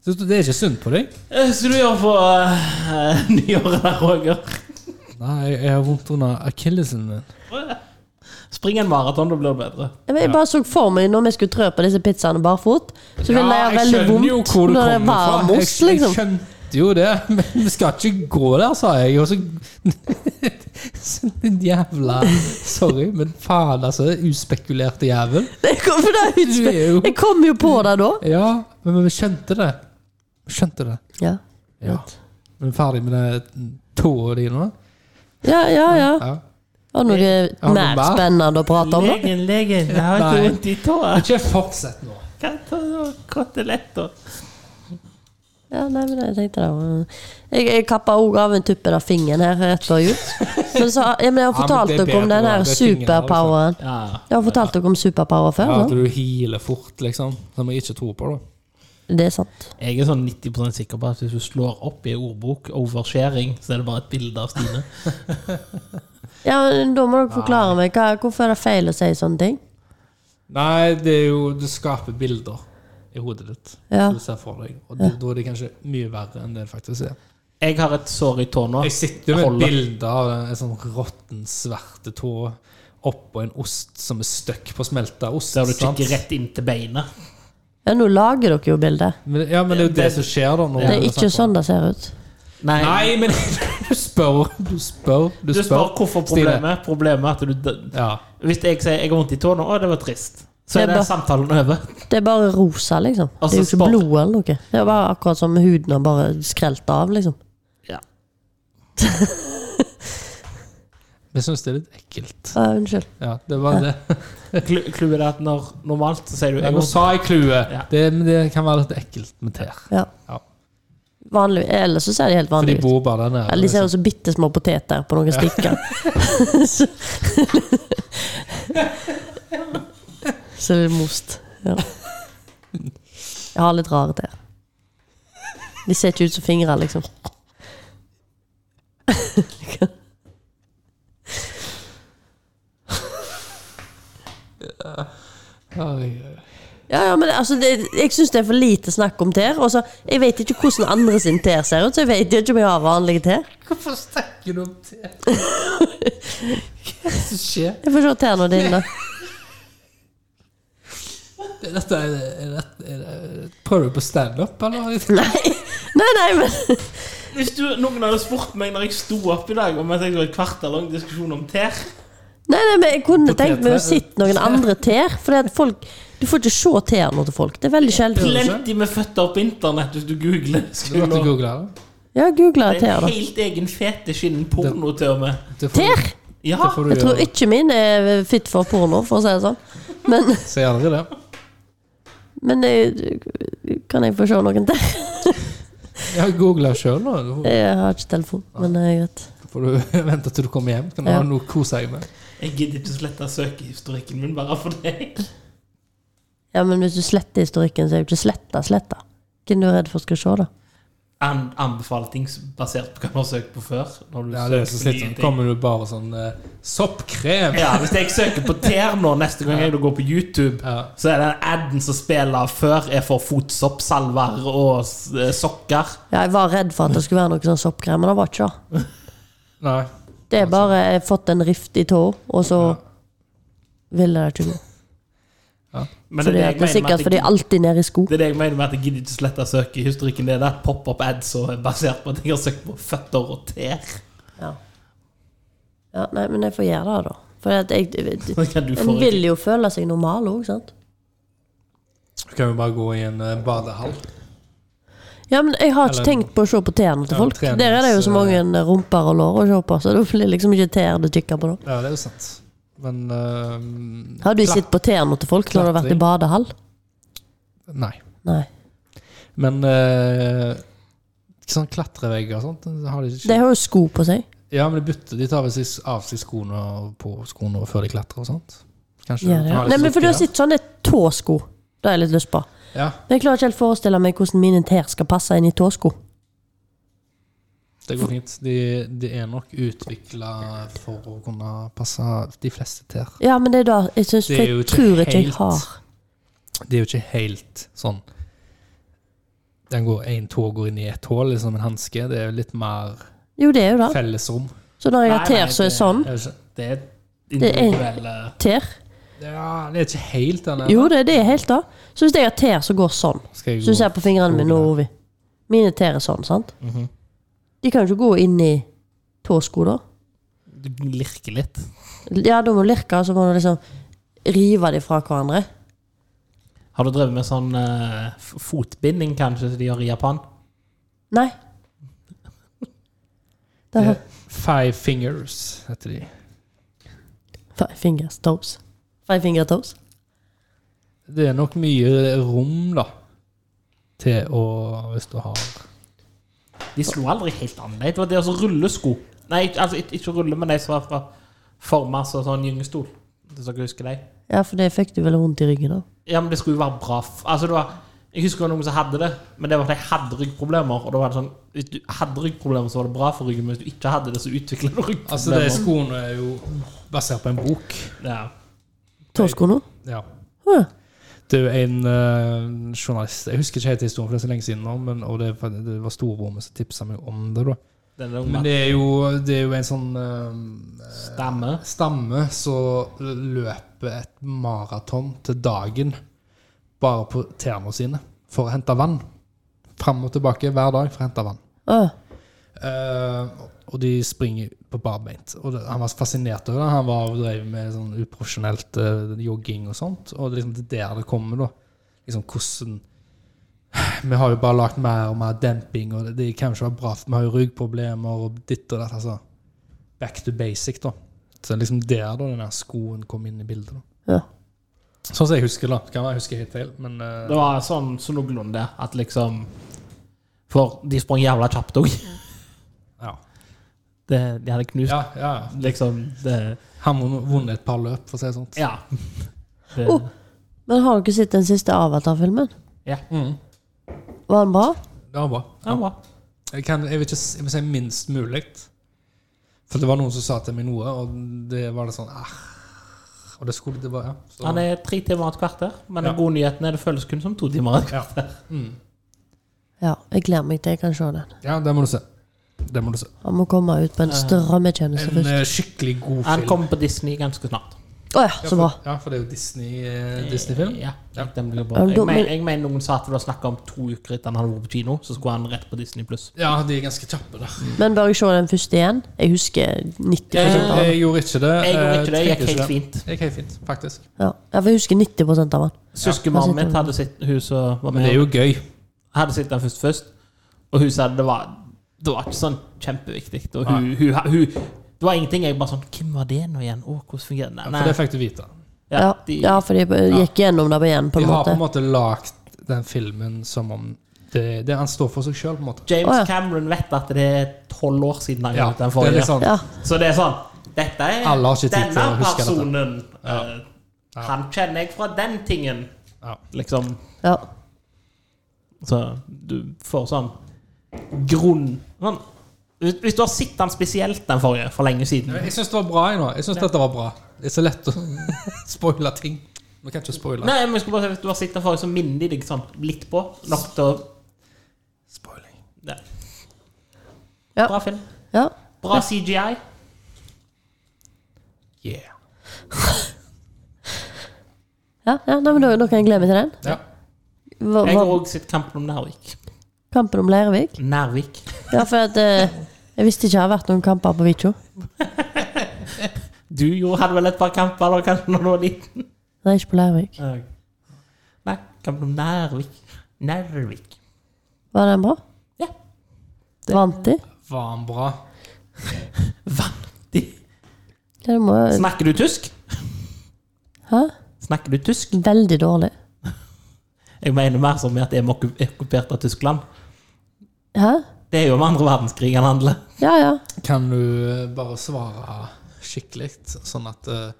Speaker 2: Så Det er ikke sunt på deg.
Speaker 1: Eh, Så du gjør på eh, *laughs* nyåret der, Roger?
Speaker 2: Nei, jeg jeg har vondt under akillesen min.
Speaker 1: Spring en maraton, da blir det bedre.
Speaker 3: Ja, men Jeg bare så for meg når vi skulle trø på disse pizzaene barfot, så ville det gjøre veldig vondt når det er varm
Speaker 2: Jeg,
Speaker 3: ost,
Speaker 2: jeg
Speaker 3: liksom.
Speaker 2: skjønte jo det, *laughs* men vi skal ikke gå der, sa jeg. Og så *laughs* Så Din jævla Sorry, men faen, altså. Uspekulerte jævel.
Speaker 3: Jeg kom, for det er
Speaker 2: Du
Speaker 3: utspill-
Speaker 2: er jo
Speaker 3: jeg kom jo på det da.
Speaker 2: Ja, men men vi skjønte det. Vi skjønte det.
Speaker 3: Ja.
Speaker 2: Ja. Vi er ferdig med det tåa di nå.
Speaker 3: Ja, ja, ja. Eh,
Speaker 2: Ja.
Speaker 3: Har du noe
Speaker 2: noe
Speaker 3: mer
Speaker 2: mer?
Speaker 3: spennende å prate om, da?
Speaker 1: Legen, legen, jeg har ikke
Speaker 2: Nei.
Speaker 1: vondt i tåa.
Speaker 2: Ikke fortsett nå.
Speaker 1: Kan jeg ta noe koteletter?
Speaker 3: Ja, nei, men jeg tenkte det var- Jeg, jeg kappa òg av en tuppen av fingeren her rett før jul. Men så, ja, men jeg har
Speaker 2: Ja, men
Speaker 3: fortalt
Speaker 2: det er
Speaker 3: dere om
Speaker 2: bedre,
Speaker 3: den her
Speaker 2: det er fingeren, altså.
Speaker 3: superpoweren.
Speaker 1: Ja.
Speaker 3: Jeg har fortalt dere om superpower før,
Speaker 2: Ja, at
Speaker 3: sant?
Speaker 2: du healer fort, liksom. Som jeg ikke tror på, da.
Speaker 3: Det er sant.
Speaker 1: Jeg er sånn 90 sikker på at hvis du slår opp i en ordbok 'oversharing', så er det bare et bilde av Stine.
Speaker 3: Ja, men Da må dere forklare meg hva, hvorfor er det feil å si sånne ting.
Speaker 2: Nei, det er jo Du skaper bilder i hodet ditt.
Speaker 3: Ja.
Speaker 2: som Du ser for deg. Og da- da er det kanskje mye verre enn det det faktisk er.
Speaker 1: Jeg har et sår i tåna.
Speaker 2: Jeg sitter jo med
Speaker 1: Ah, Holder.
Speaker 2: et bilde av en sånn råtten, svarte tå oppå en ost som er stuck på smelta ost.
Speaker 1: Der du
Speaker 2: sant?
Speaker 1: kikker rett inn til beinet.
Speaker 3: Ja, Nå lager dere jo bildet.
Speaker 2: Men, ja, men det er jo det som skjer, da. Når
Speaker 3: Det er
Speaker 2: vi
Speaker 3: ikke
Speaker 2: snakker om-
Speaker 3: sånn det ser ut.
Speaker 1: Nei,
Speaker 2: Nei, men *laughs* du spør. Du spør. Du
Speaker 1: du spør hvorfor
Speaker 2: Stine.
Speaker 1: problemet. Problemet er at du
Speaker 2: Ja.
Speaker 1: Hvis jeg sier 'jeg har vondt i tåna', å, det var trist, så
Speaker 3: Det er
Speaker 1: er den
Speaker 3: bare-
Speaker 1: samtalen over.
Speaker 3: Det er bare rosa, liksom.
Speaker 1: Altså,
Speaker 3: det er jo ikke
Speaker 1: spar-
Speaker 3: blod eller noe. Det er bare akkurat som huden har bare skrelt av, liksom.
Speaker 2: Jeg syns det er litt ekkelt.
Speaker 3: Ja, unnskyld.
Speaker 2: Ja, det var
Speaker 1: *laughs*
Speaker 2: det.
Speaker 1: Klu- Clouet er at når normalt så sier du
Speaker 2: Jeg
Speaker 1: jeg
Speaker 2: må
Speaker 1: har-
Speaker 2: sa i clouet.
Speaker 1: Ja.
Speaker 2: Det, men det kan være litt ekkelt med tær.
Speaker 3: Ja.
Speaker 2: Ja.
Speaker 3: Vanlig, ellers så ser de helt
Speaker 2: For de
Speaker 3: vanlige ut.
Speaker 2: bor bare der nede.
Speaker 3: Ja, de ser jo så bitte små poteter på noen stikker. *laughs* så så det er most. Ja. Jeg har litt rare tær. De ser ikke ut som fingre, liksom.
Speaker 2: Oi, oi.
Speaker 3: Ja, ja, men det- altså, det, Jeg syns det er for lite snakk om tær. Og så, jeg vet ikke hvordan andre sin tær ser ut, så jeg vet ikke om jeg har vanlige tær.
Speaker 2: Hvorfor snakker du om tær?
Speaker 3: *laughs*
Speaker 2: Hva er det som skjer?
Speaker 3: Jeg får se tærne dine.
Speaker 2: Dette er, er, dette- er, det- prøver du på standup, eller?
Speaker 3: Nei, nei, nei men
Speaker 1: Hvis du, noen hadde spurt meg når jeg sto opp i dag om jeg tenkte på et kvarter lang diskusjon om tær
Speaker 3: Nei, nei, men jeg kunne
Speaker 2: På
Speaker 3: tenkt meg å
Speaker 2: T3.
Speaker 3: sitte noen andre ter. Fordi at folk Du får ikke se tærne til folk. Det er veldig sjelden.
Speaker 1: Plenty med føtter på internett hvis du googler.
Speaker 2: Du måtte
Speaker 1: Skulle-
Speaker 2: google det.
Speaker 3: Ja, googla
Speaker 1: Det er
Speaker 3: tær,
Speaker 1: en
Speaker 3: da.
Speaker 1: helt egen fetisj innen porno, til og med.
Speaker 2: Det får,
Speaker 3: Ter!
Speaker 1: Ja,
Speaker 2: det får du
Speaker 3: Jeg tror
Speaker 2: gjøre.
Speaker 3: ikke min er fit for porno, for å si det sånn. Men,
Speaker 2: Sier aldri det.
Speaker 3: men jeg, kan jeg få se noen ter?
Speaker 2: Jeg har googla sjøl, da. Da
Speaker 3: Jeg har ikke telefon, men det er greit.
Speaker 2: får du *laughs* vente til du kommer hjem. Kan du ha
Speaker 3: Ja.
Speaker 2: noe å kose deg med.
Speaker 1: jeg gidder ikke slette søkehistorikken min bare for deg.
Speaker 3: Ja, men hvis du sletter historikken, så er jo ikke sletta sletta. Hvem er du redd for skal se, da?
Speaker 1: An anbefale ting som- basert på hva man har søkt på før. Når du
Speaker 2: Ja, det er
Speaker 1: søker
Speaker 2: så
Speaker 1: på nye
Speaker 2: slitsomt.
Speaker 1: ting.
Speaker 2: Kommer du bare sånn eh, soppkrem?
Speaker 1: Ja, Hvis jeg søker på tær nå neste gang jeg går på YouTube,
Speaker 2: Ja.
Speaker 1: så er den adden som spiller før, er for fotsoppsalver og s- eh, sokker.
Speaker 3: Ja, jeg var redd for at det skulle være noe sånn soppkrem, men det var ikke det.
Speaker 2: Nei.
Speaker 3: Det er bare jeg har fått en rift i tåa, og så ville det ikke gå.
Speaker 1: Men
Speaker 3: Fordi
Speaker 1: det,
Speaker 3: at det er
Speaker 1: er det, jeg mener med
Speaker 3: sikkert
Speaker 1: at
Speaker 3: fordi
Speaker 1: jeg,
Speaker 3: jeg alltid nede i sko.
Speaker 1: det er det jeg mener med at jeg gidder ikke slette søkehistorikken. Det er der pop-up ads som er basert på at jeg har søkt på føtter og tær.
Speaker 3: Ja. ja, nei, men jeg får gjøre det, da. For at jeg,
Speaker 1: Så kan du
Speaker 3: en
Speaker 1: få-
Speaker 3: vil jo føle seg normal òg, sant?
Speaker 2: Så kan vi bare gå i en eh, badehall.
Speaker 3: Ja, men jeg har ikke
Speaker 2: Eller-
Speaker 3: tenkt på å se på tærne til
Speaker 2: Ja, eh,
Speaker 3: folk.
Speaker 2: trenings-
Speaker 3: Der er det jo så mange eh, rumper og lår å se på, så det blir liksom ikke tær du kikker på da.
Speaker 2: Ja, det er jo sant. Men eh,
Speaker 3: Har du
Speaker 2: Klat-
Speaker 3: sett på tærne til folk når du har vært i
Speaker 2: Klatring.
Speaker 3: badehall?
Speaker 2: Nei.
Speaker 3: Nei.
Speaker 2: Men eh, sånn klatrevegger og sånt det har de ikke.
Speaker 3: De har jo sko på seg.
Speaker 2: Ja, men de bytter. De tar vel sist- av seg skoene og på skoene og før de klatrer og sånt. Kanskje
Speaker 3: Ja, det.
Speaker 2: har de
Speaker 3: Nei, men for du har
Speaker 2: sokker,
Speaker 3: sett sånne tåsko. Det har jeg litt lyst på.
Speaker 2: Ja.
Speaker 3: Men jeg klarer ikke helt forestille meg hvordan mine tær skal passe inn i tåsko.
Speaker 2: ja, det går fint. De, de er nok utvikla for å kunne passe de fleste tær.
Speaker 3: Ja, men det er da Jeg, synes,
Speaker 2: Det er
Speaker 3: for
Speaker 2: jo
Speaker 3: jeg
Speaker 2: ikke
Speaker 3: tror ikke jeg
Speaker 2: helt-
Speaker 3: har
Speaker 2: Det er jo ikke helt sånn den går, En tå går inn i et hull, liksom en hanske. Det er jo litt mer
Speaker 3: Jo, det er jo det.
Speaker 2: fellesrom.
Speaker 3: Så når jeg har
Speaker 1: Nei, nei,
Speaker 3: tær som er
Speaker 1: det-
Speaker 3: sånn
Speaker 2: Er det ikke?
Speaker 1: Det er
Speaker 3: Det er-
Speaker 1: individuelle
Speaker 3: Tær?
Speaker 2: Ja, det er ikke helt den
Speaker 3: Jo, det er det helt, da. Så hvis jeg har tær som går sånn
Speaker 2: Skal jeg
Speaker 3: Så du
Speaker 2: gå-
Speaker 3: ser på fingrene mine nå, Ovi. Mine tær er sånn, sant?
Speaker 2: Mhm.
Speaker 3: De kan jo ikke gå inn i tåsko, da.
Speaker 1: Du lirker litt.
Speaker 3: Ja, da må du lirke, og så må du liksom rive de fra hverandre.
Speaker 1: Har du drevet med sånn eh, f- fotbinding, kanskje, som de gjør i Japan?
Speaker 3: Nei. Det har
Speaker 2: Det- Five Fingers heter de.
Speaker 3: Five fingers toes. Five finger toes.
Speaker 2: Det er nok mye rom, da, til å Hvis du har
Speaker 1: De slo aldri helt an. Det var det å rulle sko. Nei, ikke- altså ikke, ikke rulle, men de som var fra formas og sånn gyngestol. Hvis dere husker det.
Speaker 3: Ja, for det fikk du vel vondt i ryggen av.
Speaker 1: Ja, men det skulle jo være bra f Altså, det var Jeg husker det var noen som hadde det, men det var at de hadde ryggproblemer. Og da var det sånn Hvis du hadde ryggproblemer, så var det bra for ryggen, men hvis du ikke hadde det, så utvikla du
Speaker 2: Altså, de
Speaker 1: ryggproblemer.
Speaker 2: skoene er jo basert på en bok.
Speaker 1: ja.
Speaker 3: Tåsko nå?
Speaker 2: Ja.
Speaker 3: Huh.
Speaker 2: Det er jo en eh, journalist Jeg husker ikke helt historien, for det er så lenge siden nå, men, og det, det var storebroren som tipsa meg om det. da
Speaker 1: Den der
Speaker 2: Men
Speaker 1: med
Speaker 2: det er jo, det er jo en sånn eh,
Speaker 1: stamme.
Speaker 2: stamme som løper et maraton til dagen bare på tærne sine for å hente vann. Fram og tilbake hver dag for å hente vann.
Speaker 3: Ah,
Speaker 2: Eh, og de springer på barbeint. Og det, han var fascinert over det. Han var drev med sånn uprofesjonelt eh, jogging og sånt. Og det er liksom det der det kommer, da. Liksom hvordan *sighs* Vi har jo bare lagt mer og mer demping, og det, det kan jo ikke være bra. for Vi har jo ryggproblemer og ditt og datt. Altså back to basic, da. Så det er liksom der da den der skoen kom inn i bildet. da
Speaker 3: ja.
Speaker 2: Sånn som jeg husker det. Kan være jeg husker helt feil, men eh,
Speaker 1: Det var sånn så noenlunde at liksom For de sprang jævla kjapt òg.
Speaker 2: ja.
Speaker 1: De hadde knust
Speaker 2: Ja, ja, ja.
Speaker 1: liksom det,
Speaker 2: Han har vunnet et par løp, for å si det sånn.
Speaker 1: Ja. *laughs* Det,
Speaker 3: Oh. Men har dere sett den siste Avatar-filmen?
Speaker 1: Ja.
Speaker 2: Mhm.
Speaker 3: Var den bra?
Speaker 2: Det var bra.
Speaker 1: Det var bra.
Speaker 2: Jeg, kan, jeg, vil ikke, s- jeg vil si minst mulig. For det var noen som sa til meg noe, og det var det sånn ah. Og det skulle det var, ja. Så,
Speaker 1: Han er tre timer og et kvarter, men
Speaker 2: Ja.
Speaker 1: den gode nyheten er det føles kun som to timer. og et
Speaker 2: Ja.
Speaker 1: kvarter.
Speaker 3: Ja, jeg gleder meg til jeg kan se den.
Speaker 2: ja, det må du se. Det må du se.
Speaker 3: Han må komme ut på en strømmetjeneste
Speaker 2: En
Speaker 3: først.
Speaker 2: eh, skikkelig god
Speaker 1: Han
Speaker 2: film.
Speaker 1: kommer på Disney ganske snart.
Speaker 3: Å ja, så bra.
Speaker 2: eh, Ja, for det er jo Disney, eh, Disney-film.
Speaker 1: Ja,
Speaker 2: Ja.
Speaker 1: den blir bra.
Speaker 3: Ja, men da-
Speaker 1: Jeg, men, jeg mener noen sa at det var snakk om to uker etter han hadde vært på kino, så skulle han rett på Disney pluss.
Speaker 2: Ja, de er ganske kjappe der.
Speaker 3: Men bør jeg se den første igjen? Jeg husker 90 av den.
Speaker 2: Jeg gjorde ikke det.
Speaker 1: Jeg gjorde ikke det,
Speaker 2: eh, tenkte
Speaker 1: gikk helt
Speaker 2: ikke det.
Speaker 1: fint.
Speaker 2: Det gikk helt fint, faktisk.
Speaker 3: Ja, Ja, for jeg husker 90 av den.
Speaker 1: Søskenbarnet
Speaker 3: Ja.
Speaker 1: mitt hadde sett hun som var
Speaker 2: Men det
Speaker 1: med,
Speaker 2: er jo gøy.
Speaker 1: hadde sett den først først, og hun sa det var Det var ikke sånn kjempeviktig. Og hun, hun, hun, det var ingenting. Jeg bare sånn Hvem var det nå igjen? Å, hvordan fungerer det?
Speaker 2: For det fikk du vite.
Speaker 1: ja,
Speaker 3: Ja,
Speaker 1: de,
Speaker 3: ja for de gikk gjennom det igjen, på
Speaker 2: De
Speaker 3: en
Speaker 2: har på
Speaker 3: måte.
Speaker 2: en måte lagt den filmen som om det, det han står for seg sjøl, på en måte.
Speaker 1: James
Speaker 3: Å, ja.
Speaker 1: Cameron vet at det er tolv år siden han
Speaker 2: Ja,
Speaker 1: gjorde den
Speaker 2: det er
Speaker 1: forrige.
Speaker 2: litt sånn
Speaker 3: Ja,
Speaker 1: Så det er sånn Dette er
Speaker 2: Alle har ikke tid til
Speaker 1: denne
Speaker 2: å huske dette.
Speaker 1: personen. eh, Han kjenner jeg fra den tingen.
Speaker 2: Ja.
Speaker 1: Liksom.
Speaker 3: ja.
Speaker 1: Så du får sånn grunn sånn, hvis, hvis du har sett den spesielt den forrige for lenge siden
Speaker 2: Jeg syns det var bra. Jeg, nå. jeg synes dette var bra. Det er så lett å *laughs* spoile ting. Vi kan ikke spoile.
Speaker 1: Nei, men jeg skulle bare si Hvis du har sett den forrige, så minner de deg sånn litt på. Nok til å
Speaker 2: Spoiling.
Speaker 1: ja.
Speaker 3: Ja.
Speaker 1: Bra film.
Speaker 3: ja.
Speaker 1: Bra CGI.
Speaker 2: Yeah.
Speaker 3: ja, ja nei, men da, da kan jeg glede meg til den.
Speaker 2: Ja.
Speaker 3: Hva,
Speaker 1: Jeg har
Speaker 3: hva,
Speaker 1: òg sett Kampen om Nærvik.
Speaker 3: kampen om Leirvik?
Speaker 1: Nærvik.
Speaker 3: Ja, for at, eh, jeg visste ikke det hadde vært noen kamper på Vitjo.
Speaker 1: Du jo hadde vel et par kamper da, kanskje, når du var liten?
Speaker 3: Nei, ikke på Leirvik.
Speaker 1: Nei, Kampen om Nærvik. Nærvik.
Speaker 3: Var den bra?
Speaker 1: Ja.
Speaker 3: Vant de?
Speaker 2: Var han bra?
Speaker 1: Vanvittig.
Speaker 3: Ja, det må jo
Speaker 1: Snakker du tysk?
Speaker 3: Hæ?
Speaker 1: Snakker du tysk?
Speaker 3: Veldig dårlig. Jeg
Speaker 1: Jeg mener mer som i at jeg er okku- okkupert av Tyskland.
Speaker 3: Hæ?
Speaker 1: Det er jo om andre verdenskrig han handler.
Speaker 3: Ja, ja.
Speaker 2: Kan du bare svare skikkelig, sånn at eh,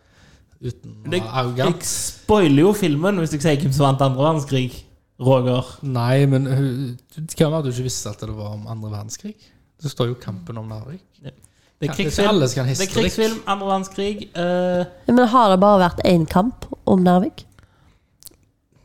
Speaker 2: uten å
Speaker 1: Det-
Speaker 2: være arrogant?
Speaker 1: Jeg spoiler jo filmen hvis jeg sier hvem som vant andre verdenskrig. Roger.
Speaker 2: Nei, men hu- det kan være at du ikke visste at det var om andre verdenskrig. Det står jo 'Kampen om Narvik'.
Speaker 1: Det
Speaker 2: Ja,
Speaker 1: er
Speaker 2: det er ikke
Speaker 1: krigsfilm,
Speaker 2: alle som kan
Speaker 1: det er
Speaker 2: historikk.
Speaker 1: krigsfilm andre verdenskrig. eh,
Speaker 3: Men har det bare vært én kamp om Nærvik?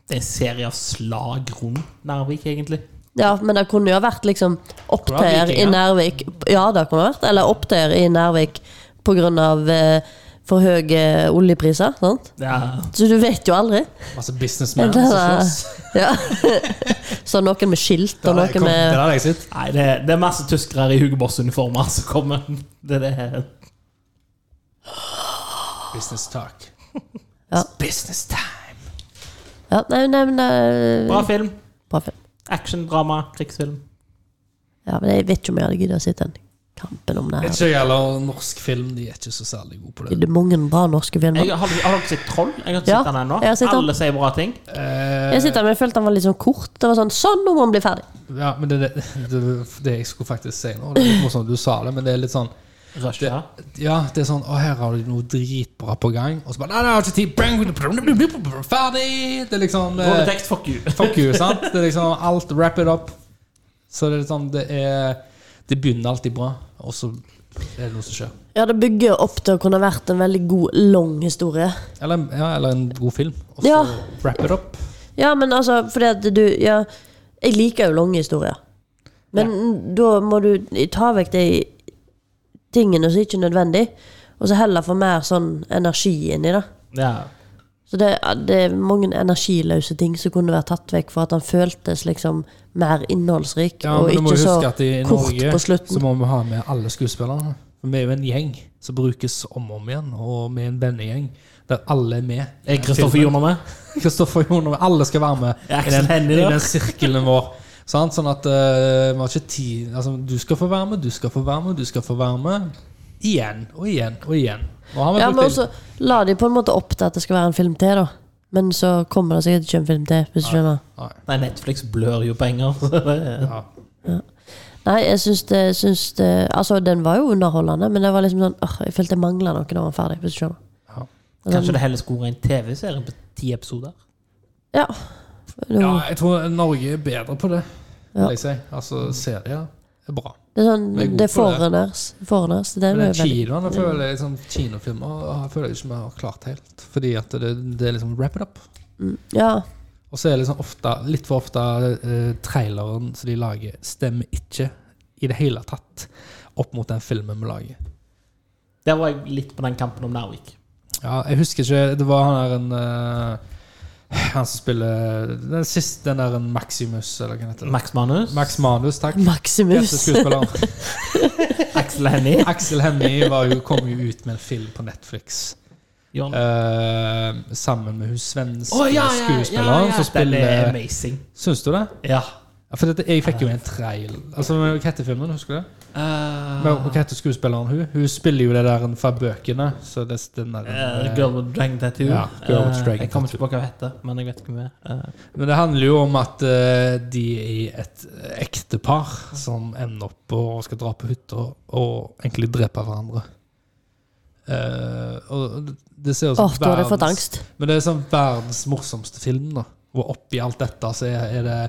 Speaker 1: det er en serie av slag rundt Narvik, egentlig.
Speaker 3: Ja, men det kunne jo ha vært liksom
Speaker 2: Det var
Speaker 3: opptøyer i
Speaker 2: vikinger.
Speaker 3: Nærvik. Ja, det kunne ha vært. Eller opptøyer i Nærvik pga. Eh, for høye oljepriser. Sant?
Speaker 1: Ja.
Speaker 3: Så du vet jo aldri. *laughs*
Speaker 2: Altså businessman som
Speaker 3: Det er-
Speaker 2: slåss.
Speaker 3: Ja. *laughs* Så noen med skilt og
Speaker 2: Det
Speaker 3: noen
Speaker 2: der
Speaker 3: med
Speaker 2: har jeg sett.
Speaker 1: Nei, det er, det er masse tyskere i Hugo Boss-uniformer som kommer. Det er det her.
Speaker 2: Business talk.
Speaker 3: Ja.
Speaker 2: It's business time.
Speaker 3: ja, Nei, nei, men eh,
Speaker 1: Bra film.
Speaker 3: Bra film.
Speaker 1: Action-drama, krigsfilm.
Speaker 3: Ja, men jeg vet ikke om jeg hadde giddet å se den kampen om
Speaker 2: Vet
Speaker 3: Nærvik.
Speaker 2: Ikke gjelder norsk film, de er ikke så særlig gode på
Speaker 3: Det
Speaker 2: det.
Speaker 3: er mange bra norske filmer.
Speaker 1: Jeg, har, har dere sett Troll? Jeg har ikke
Speaker 3: Ja,
Speaker 1: sett den ennå.
Speaker 3: jeg har sett den.
Speaker 1: Alle sier bra ting.
Speaker 2: Eh,
Speaker 3: Jeg sitter, men jeg følte den var litt sånn kort. Det var sånn, sånn, nå må den bli ferdig.
Speaker 2: ja, men det, det, det, det jeg skulle faktisk si nå, det er litt morsomt at du sa det, men det er litt sånn det,
Speaker 1: Rusha.
Speaker 2: Ja, det er sånn Å, her har du noe dritbra på gang, og så bare Nei, nei, jeg har ikke tid. Bang, Ferdig! Det er liksom eh,
Speaker 1: Rolletekst, fuck you.
Speaker 2: Fuck you, sant? Det er liksom alt Wrap it up. Så det er sånn Det, er, det begynner alltid bra, og så er det noe som skjer.
Speaker 3: Ja, det bygger opp til å kunne vært en veldig god, lang historie.
Speaker 2: Eller, ja, eller en god film, og så
Speaker 3: Ja.
Speaker 2: wrap it up.
Speaker 3: Ja, men altså, fordi at du ja, Jeg liker jo lange historier. Men da må du ta vekk de tingene som ikke er nødvendig, og så heller få mer sånn energi inn i det.
Speaker 1: Ja.
Speaker 3: Så det, det er mange energiløse ting som kunne vært tatt vekk for at han føltes liksom mer innholdsrik,
Speaker 2: Ja,
Speaker 3: og
Speaker 2: men du må
Speaker 3: ikke så
Speaker 2: huske at i
Speaker 3: kort
Speaker 2: Norge
Speaker 3: på
Speaker 2: så
Speaker 3: slutten.
Speaker 2: må vi ha med alle skuespillerne. For Vi er jo en gjeng som brukes om og om igjen, og vi er en vennegjeng der alle er med.
Speaker 1: Er Kristoffer Joner med?
Speaker 2: *laughs* Kristoffer Joner, alle skal være med
Speaker 1: Er
Speaker 2: i
Speaker 1: Aksel
Speaker 2: den,
Speaker 1: Hennie
Speaker 2: i
Speaker 1: der?
Speaker 2: den sirkelen vår. Sant? Sånn at eh, vi har ikke tid altså, Du skal få være med, du skal få være med, du skal få være med. Igjen og igjen og igjen. Nå har vi
Speaker 3: Ja,
Speaker 2: brukt
Speaker 3: men
Speaker 2: inn-
Speaker 3: også la de på en måte opp til at det skal være en film til, da. Men så kommer det sikkert ikke en film til, hvis du skjønner.
Speaker 2: Nei,
Speaker 1: Nei, Netflix blør jo penger. så det er-
Speaker 2: ja.
Speaker 3: Nei, jeg syns det, syns det Altså, den var jo underholdende, men det var liksom sånn åh, Jeg følte jeg mangla noe da den var ferdig, hvis du skjønner.
Speaker 2: Ja.
Speaker 1: Kanskje det heller skulle vært en TV-serie på ti episoder?
Speaker 3: Ja. Det,
Speaker 2: ja, jeg tror Norge er bedre på det,
Speaker 3: Ja.
Speaker 2: vil jeg si. Altså, serier er bra.
Speaker 3: det er sånn
Speaker 2: Vi er gode
Speaker 3: Det
Speaker 2: på
Speaker 3: er
Speaker 2: det.
Speaker 3: foreigners. Foreigners. Det er
Speaker 2: Men
Speaker 3: jo
Speaker 2: den
Speaker 3: veldig Mm.
Speaker 2: kinoen, jeg føler jeg, sånn, kinofilmer jeg føler jeg ikke vi har klart helt. Fordi at det, det er liksom wrap it up.
Speaker 3: Ja.
Speaker 2: Og så er det liksom ofte, litt for ofte eh, traileren som de lager, stemmer ikke i det hele tatt opp mot den filmen vi lager.
Speaker 1: Der var jeg litt på den kampen om Narvik.
Speaker 2: Ja, jeg husker ikke Det var han der en eh, Han som spiller den siste, den der en Maximus, eller hva heter det?
Speaker 1: Max Manus.
Speaker 2: Max Manus, takk. Beste
Speaker 3: Maximus.
Speaker 2: skuespiller.
Speaker 1: *laughs* Axel Hennie.
Speaker 2: Axel Hennie var jo- kom jo ut med en film på Netflix.
Speaker 1: John.
Speaker 2: eh, sammen med hun svenske
Speaker 1: Å, ja, ja,
Speaker 2: skuespilleren
Speaker 1: ja, ja.
Speaker 2: som
Speaker 1: Den er
Speaker 2: spiller
Speaker 1: amazing.
Speaker 2: Syns du det?
Speaker 1: Ja.
Speaker 2: Ja, For dette, jeg fikk jo en trail. Altså, Hva heter filmen? Husker du det? Men
Speaker 1: Uh,
Speaker 2: Hva heter skuespilleren hun? Hun spiller jo det der en fra bøkene. Så det er den der, eh,
Speaker 1: Girl with Dragon Tattoo.
Speaker 2: Ja, Girl with
Speaker 1: Eh,
Speaker 2: Dragon
Speaker 1: jeg kommer ikke
Speaker 2: Tattoo.
Speaker 1: på hva hun heter, men jeg vet ikke hvem hun er. Eh,
Speaker 2: Men det handler jo om at eh, de er et eh, ektepar som ender opp og skal dra på hytta og egentlig drepe hverandre. Eh, og det ser ut
Speaker 3: Åh,
Speaker 2: som
Speaker 3: da hadde jeg fått angst.
Speaker 2: Men det er sånn verdens morsomste film, da. Og oppi alt dette så er, er det,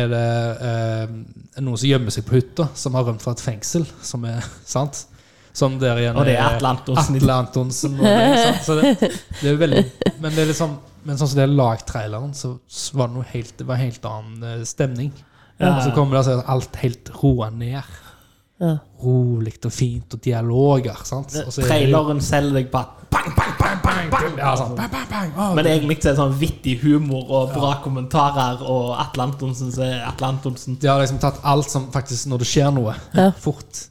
Speaker 2: er det eh, noen som gjemmer seg på hytta, som har rømt fra et fengsel, som er *laughs* sant? Som der igjen
Speaker 1: Og det er Atle Antonsen.
Speaker 2: Atle Antonsen. Og det, sant? Så det, det er veldig Men det er liksom men sånn som det er lagtraileren, så så var det noe helt, det var en helt annen eh, stemning.
Speaker 1: Ja.
Speaker 2: Og så kommer det altså alt helt roa ned.
Speaker 3: Ja.
Speaker 2: Rolig og fint, og dialoger. sant? Og så er det jo-
Speaker 1: Traileren selger deg på at bang, bang, bang, bang, bang.
Speaker 2: Ja, sånn, bang, bang, bang. Å,
Speaker 1: Men egentlig så er det sånn vittig humor og bra kommentarer, og Atle Antonsen så er Atle Antonsen.
Speaker 2: De har liksom tatt alt som faktisk Når det skjer noe,
Speaker 3: Ja.
Speaker 2: fort.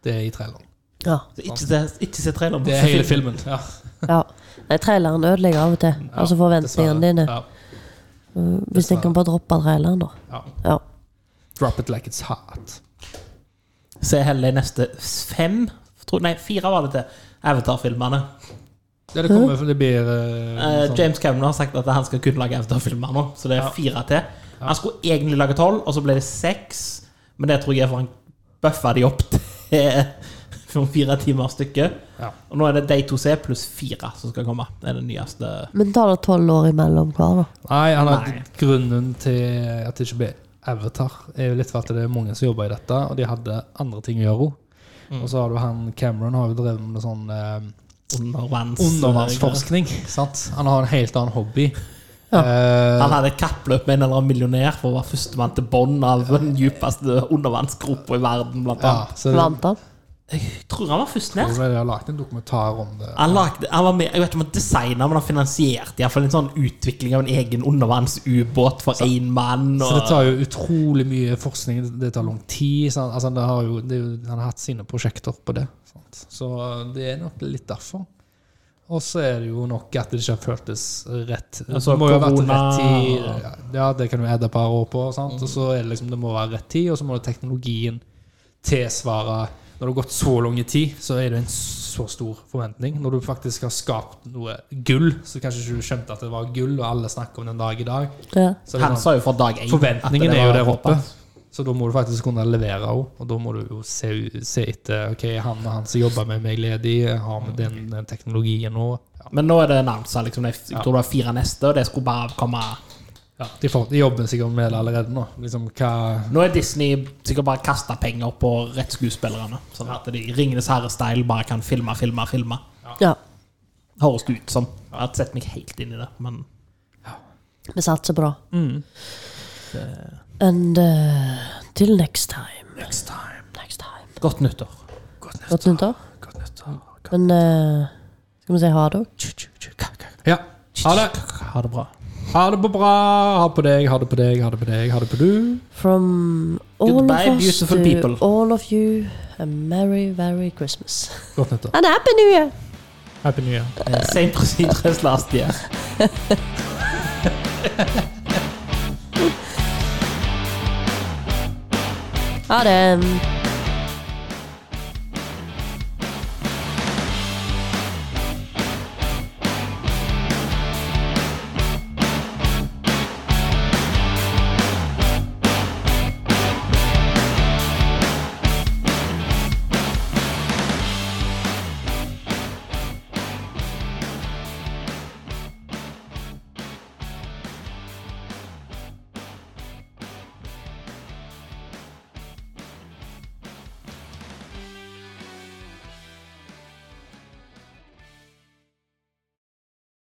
Speaker 2: Det er i traileren.
Speaker 3: Ja.
Speaker 1: Så ikke se, ikke se traileren.
Speaker 2: Det er
Speaker 1: se
Speaker 2: hele
Speaker 1: filmen.
Speaker 2: filmen. Ja.
Speaker 3: ja. Nei, traileren ødelegger av og til. altså forventningene dine.
Speaker 2: Ja.
Speaker 3: Hvis en kan bare droppe traileren, da.
Speaker 2: Ja.
Speaker 3: Ja.
Speaker 2: Drop it like it's hot.
Speaker 1: Se heller de neste fem tror, Nei, fire var det til. Avatar-filmene.
Speaker 2: Ja, det kommer for det blir eh,
Speaker 1: Eh,
Speaker 2: sånn.
Speaker 1: James Cameron har sagt at han skal kun lage Avatar-filmer nå, så det er
Speaker 2: Ja.
Speaker 1: fire til. Han skulle egentlig lage tolv, og så ble det seks, men det tror jeg er for han bøffa de opp *laughs* til fire timer stykket.
Speaker 2: Ja.
Speaker 1: Og nå er det de to C pluss fire som skal komme. Det er det nyeste.
Speaker 3: Men tar det tolv år imellom hver, da.
Speaker 2: Nei, han har
Speaker 1: Nei.
Speaker 2: grunnen til at det ikke ble Avatar, er jo litt for at det er mange som jobber i dette, og de hadde andre ting å gjøre. Og så har du han Cameron har jo drevet med noe sånn eh,
Speaker 1: Undervanns...
Speaker 2: undervannsforskning. sant? Han har en helt annen hobby. Eh,
Speaker 1: Han hadde et kappløp med en eller annen millionær for å være førstemann til bånn av den dypeste undervannsgropa i verden, blant
Speaker 2: ja,
Speaker 1: annet.
Speaker 2: så det,
Speaker 3: Vant han?
Speaker 1: Jeg tror han var først ned.
Speaker 2: de har lagt en dokumentar om det.
Speaker 1: Han, lagde, han var med, jeg vet ikke om han designa, men han finansierte i hvert fall en sånn utvikling av en egen undervannsubåt for én mann.
Speaker 2: Så det
Speaker 1: Og,
Speaker 2: tar jo utrolig mye forskning, det tar lang tid. Sant? Altså, det har jo, det er jo, han har hatt sine prosjekter på det. Sant? Så det er nok litt derfor. Og så er det jo nok at det ikke har føltes rett.
Speaker 1: Altså,
Speaker 2: det må jo ha vært
Speaker 1: korona- Mm.
Speaker 2: rett tid. Ja, det kan du edde et par år på. Sant? Og så er det liksom, det må være rett tid, og så må det teknologien tilsvare Når det har gått så lang tid, så er det en så stor forventning. Når du faktisk har skapt noe gull, så kanskje ikke du skjønte at det var gull, og alle snakker om den dag i dag.
Speaker 3: Ja.
Speaker 2: Så er det
Speaker 1: han
Speaker 2: sånn-
Speaker 1: sa jo fra dag én
Speaker 2: Forventningen
Speaker 1: at det
Speaker 2: er jo
Speaker 1: var
Speaker 2: der oppe.
Speaker 1: håpet.
Speaker 2: Så da må du faktisk kunne levere òg. Og da må du jo se, se etter Ok, han og han som jobber med meg ledig, har med den, den teknologien nå. Ja.
Speaker 1: Men nå er det annonsa. Liksom, jeg tror det var fire neste, og det skulle bare komme
Speaker 2: Ja, de, får, de jobber sikkert med det allerede nå. Liksom hva
Speaker 1: Nå er Disney sikkert bare kasta penger på rettskuespillerne. Sånn at de i Ringenes herre-style bare kan filme, filme, filme.
Speaker 3: ja.
Speaker 1: Høres det ut som. Jeg har ikke sett meg helt inn i det, men
Speaker 3: Vi satser på det.
Speaker 2: Mm.
Speaker 3: And uh, til next time.
Speaker 1: Next time.
Speaker 3: Next time.
Speaker 1: Godt nyttår.
Speaker 3: Godt nyttår.
Speaker 2: Godt nyttår.
Speaker 3: Men eh, skal vi si ha det?
Speaker 2: Ja. Ha det.
Speaker 1: Ha det bra.
Speaker 2: Ha det på bra. Ha på deg, ha det på deg, ha det på deg, ha det på du.
Speaker 3: From all
Speaker 1: Goodbye,
Speaker 3: of us
Speaker 1: beautiful
Speaker 3: to
Speaker 1: people.
Speaker 3: all of you, a merry, merry Christmas.
Speaker 2: Godt nyttår.
Speaker 3: And happy new year!
Speaker 2: Happy New Year.
Speaker 1: Eh, Same procedures last year.
Speaker 3: Ha det!